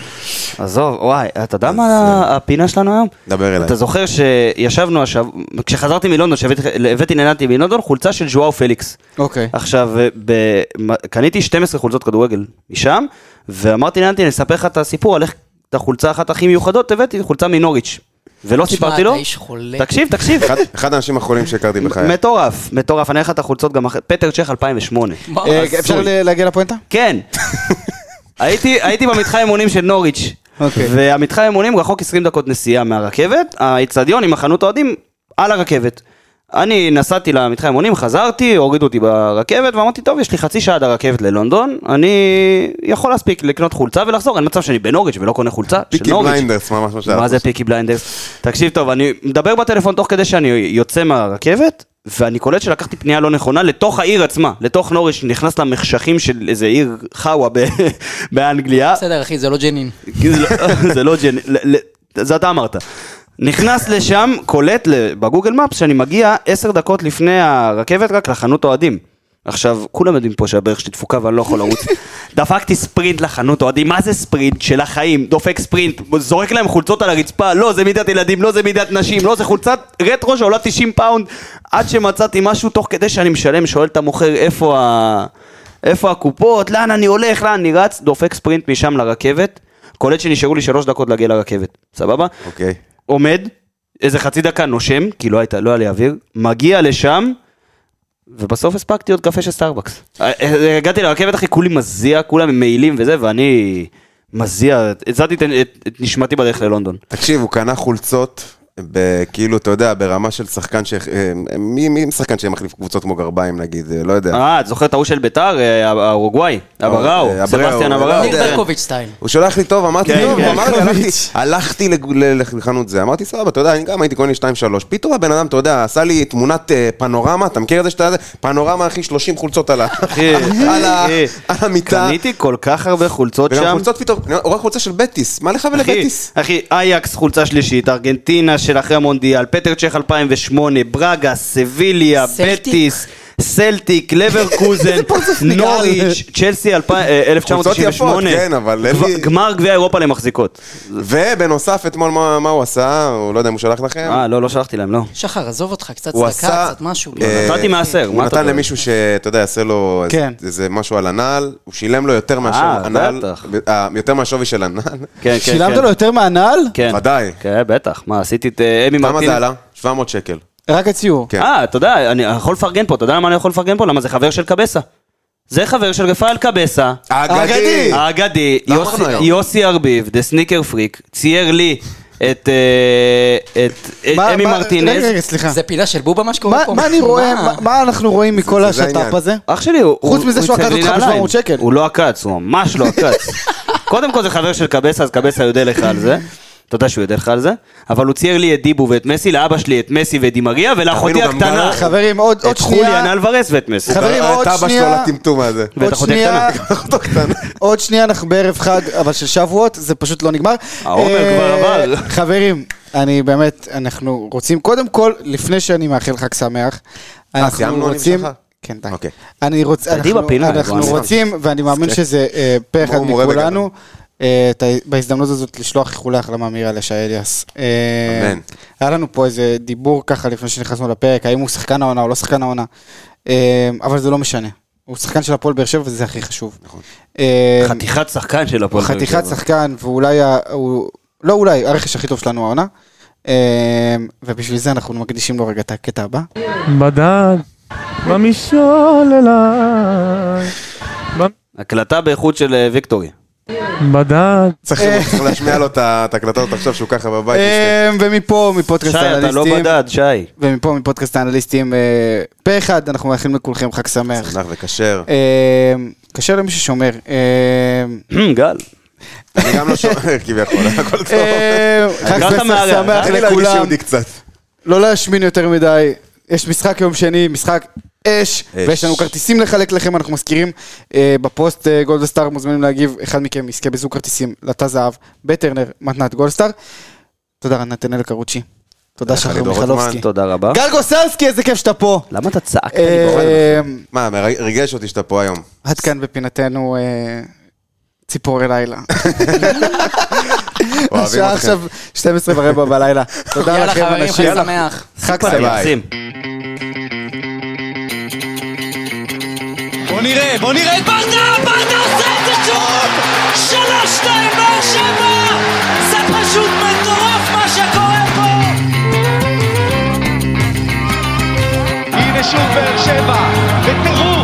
עזוב, וואי, אתה יודע מה
אה,
הפינה שלנו היום?
דבר אליי.
אתה זוכר שישבנו השבוע, כשחזרתי מלונדון, שהבאתי לנתי מלונדון, חולצה של ז'ואאו פליקס.
אוקיי.
עכשיו, אה, ב- מ- קניתי 12 חולצות כדורגל משם, ואמרתי לנתי, אני אספר לך את הסיפור על איך את החולצה אחת הכי מיוחדות, הבאתי חולצה מנוריץ'. ולא
תשמע,
סיפרתי לו,
אתה איש חולה.
תקשיב, תקשיב,
אחד- אחד האנשים החולים שהכרתי בחיי.
מטורף, מטורף, אני אראה לך את החולצות גם אחרי, פטר צ'ך 2008.
מה,
אה,
עשוי?
אפשר ל- להגיע לפואנטה?
כן. הייתי, הייתי במתחם אימונים של נוריץ',
אוקיי.
והמתחם אימונים רחוק 20 דקות נסיעה מהרכבת, האיצטדיון עם החנות האוהדים על הרכבת. אני נסעתי למתחם אימונים, חזרתי, הורידו אותי ברכבת, ואמרתי, טוב, יש לי חצי שעה עד הרכבת ללונדון, אני יכול להספיק לקנות חולצה ולחזור, אין מצב שאני בנוריץ' ולא קונה חולצה של
פיקי
נוריץ'.
בליינדרס, ממש מה שהיה.
מה זה פיקי בליינדרס? תקשיב טוב, אני מדבר בטלפון תוך כדי שאני יוצא מהרכבת, ואני קולט שלקחתי פנייה לא נכונה לתוך העיר עצמה, לתוך נוריש, נכנס למחשכים של איזה עיר חאווה ב- באנגליה.
בסדר, אחי, זה לא ג'נין.
כי זה לא- זה לא ג'ן, ל- ל- זה אתה אמרת. נכנס לשם, קולט ל- בגוגל מפס שאני מגיע עשר דקות לפני הרכבת רק לחנות אוהדים. עכשיו, כולם יודעים פה שהברך שלי תפוקה ואני לא יכול לרוץ. דפקתי ספרינט לחנות אוהדים, מה זה ספרינט של החיים? דופק ספרינט, זורק להם חולצות על הרצפה, לא, זה מידת ילדים, לא, זה מידת נשים, לא, זה חולצת רטרו שעולה 90 פאונד, עד שמצאתי משהו תוך כדי שאני משלם, שואל את המוכר איפה ה... איפה הקופות, לאן אני הולך, לאן אני רץ, דופק ספרינט משם לרכבת, קולט שנשארו לי שלוש דקות להגיע לרכבת, סבבה?
אוקיי.
עומד, איזה חצי דקה נושם, כי לא הייתה, לא היה לי אוויר, מגיע לשם, ובסוף הספקתי עוד קפה של סטארבקס. אה, אה, הגעתי לרכבת אחי, כולי מזיע, כולם מעילים וזה, ואני מזיע, הצעתי את, את, את נשמתי בדרך ללונדון.
תקשיב, הוא קנה חולצות, ב- כאילו, אתה יודע, ברמה של שחקן ש... אה, מי מי שחקן שמחליף קבוצות כמו גרביים, נגיד? אה, לא יודע.
אה, את זוכרת ההוא של ביתר, אה, האורוגוואי, אבראו,
אה,
סבסטיאן
אבראו,
אבראו.
לא
ניר
יודע.
ברקוביץ' סטייל.
הוא שולח לי טוב, אמרתי
כן,
טוב,
כן,
הוא אמר לי, הלכתי-
קוביץ'.
הלכתי לג- ל- לחנות זה, אמרתי סבבה, אתה יודע, אני גם הייתי קונה לי 2-3, פתאום הבן אדם, אתה יודע, עשה לי תמונת אה, פנורמה, אתה מכיר את זה שאתה, פנורמה אחי 30 חולצות על ה-
אחי,
על ה-
אחי,
על המיטה,
קניתי כל כך הרבה חולצות
וגם
שם.
חולצות פתאום, אני רואה חולצה של בטיס, מה לך
אחי,
ולבטיס?
אחי, אייקס חולצה שלישית, ארגנטינה של אחרי המונדיאל, פטר צ'ך 2008, ברגה, סביליה,
סלטיק.
בטיס, סלטיק, לברקוזן, נוריץ', צ'לסי אלפיים- אה,
חולצות יפות,
1998,
כן, אבל אין
גב-
לי-
גמר גביע אירופה למחזיקות.
ובנוסף, אתמול מה מה הוא עשה, הוא לא יודע אם הוא שלח
כן.
לכם,
אה, לא, לא שלחתי להם, לא.
שחר, עזוב אותך, קצת
הוא
צדקה,
עשה...
קצת משהו.
לא,
אה,
נתתי מעשר,
הוא
מה אתה
נתן
אומר?
למישהו שאתה יודע, יעשה לו איזה-
כן.
איזה משהו על הנעל, הוא שילם לו יותר מאשר הנעל,
בטח.
אה, יותר מהשווי של הנעל.
כן, כן,
שילמת
כן.
לו יותר מהנעל?
כן.
ודאי.
כן, בטח. מה, עשיתי את אה, אמי
כמה
מרטינס.
זה עלה? 700 שקל.
רק הציור.
כן.
אה, אתה יודע, אני יכול לפרגן פה, אתה יודע למה אני יכול לפרגן פה? למה זה חבר של קבסה. זה חבר של רפאל קבסה,
אגדי.
האגדי,
לא
יוסי-
אמרנו היום.
יוסי ארביב, דה סניקר פריק, צייר לי את אה, את- את
מה-
אמי
מה-
מרטינז.
רגע, רגע, סליחה.
זה פינה של בובה מה שקורה
אה, מה
פה?
מה אני רואה, מה- מה אנחנו רואים מכל
זה- זה
השת"פ
העניין.
הזה?
אח שלי, הוא...
חוץ
הוא-
מזה
הוא
שהוא עקץ
הצליב לי
אותך
נעליים.
ב- 700 שקל.
הוא לא עקץ, הוא ממש לא עקץ. קודם כל זה חבר של קבסה, אז קבסה יודע לך על זה. אתה יודע שהוא יודע לך על זה, אבל הוא צייר לי את דיבו ואת מסי, לאבא שלי את מסי ואת דימריה, ולאחותי
תבינו, גם
הקטנה,
ברח-
חברים, עוד עוד
את חוליאן
שנייה,
אלוורס ואת מסי.
חברים,
את
עוד
אבא שלו
שנייה.
לטמטום הזה.
ואת
עוד
אחותי
שנייה,
הקטנה.
אותו קטן.
עוד שנייה אנחנו בערב חג, אבל של שבועות, זה פשוט לא נגמר.
העומר
אה,
כבר עבר.
חברים, אני באמת, אנחנו רוצים, קודם כל, לפני שאני מאחל חג שמח, אנחנו
אה, סיימנו? אני
רוצים...
בשבילך?
כן, די.
אוקיי.
אני רוצ...
תעדי
אנחנו,
בפינה,
אנחנו
בוא,
רוצים, ואני מאמין שזה אה, פה אחד
הוא אוקיי. מורה
מכולנו, אה, את ה- בהזדמנות הזאת לשלוח איחולי החלמה מהירה לשי אליאס. אה,
אמן.
היה לנו פה איזה דיבור ככה לפני שנכנסנו לפרק, האם הוא שחקן העונה או לא שחקן העונה, אה, אבל זה לא משנה. הוא שחקן של הפועל באר שבע וזה הכי חשוב. אה,
נכון. חתיכת שחקן של הפועל. באר
חתיכת
שבע.
שחקן, ואולי, ה- הוא- לא אולי, הרכש הכי טוב שלנו העונה. אה, ובשביל זה אנחנו מקדישים לו רגע את הקטע הבא.
בדד, במשעול אליי. ב-
הקלטה באיכות של אה, ויקטורי.
בדד,
צריך צריך להשמיע לו את ה- את ההקלטות עכשיו שהוא ככה בבית. מסתכל.
אה, ומפה, מפודקאסט
שי, אתה לא
האנליסטים,
בדד, שי.
ומפה, מפודקאסט האנליסטים, אה, פה אחד, אנחנו מאחלים לכולכם חג שמח.
שמח וכשר.
אה, קשה למי ששומר. אה,
גל.
אני גם לא שומר כביכול, הכל טוב.
אה, חג
הגעת מהרע,
שמח
אה?
תן לי להרגיש
לכולם,
יהודי קצת.
לא להשמין יותר מדי, יש משחק יום שני, משחק אש, ויש לנו כרטיסים לחלק לכם, אנחנו מזכירים אה, בפוסט אה, גולדסטאר מוזמנים להגיב, אחד מכם יזכה בזוג כרטיסים לתא זהב בטרנר מתנת גולדסטאר. תודה נתנאל קרוצ'י, תודה
לך,
שחר
לידור רוטמן.
מיכלובסקי.
תודה רבה.
כן. גל גוסלסקי, איזה כיף שאתה פה.
למה אתה צעקת לי
אה,
באוזן?
מה, מרג- ריגש אותי שאתה פה היום.
עד כאן בפינתנו אה, ציפורי לילה.
אוהבים
השעה
אתכם.
עכשיו 12 ורבע בלילה. תודה
יאללה
לכם
חברים,
אנשים.
חג שמח.
חג
סופר
שמח.
יחסים.
בוא נראה, בוא נראה את ברדה, ברדה עושה את זה שוב! שלוש, שתיים, באר שבע! זה פשוט מטורף מה שקורה פה!
הנה שוב באר שבע, בטירוף,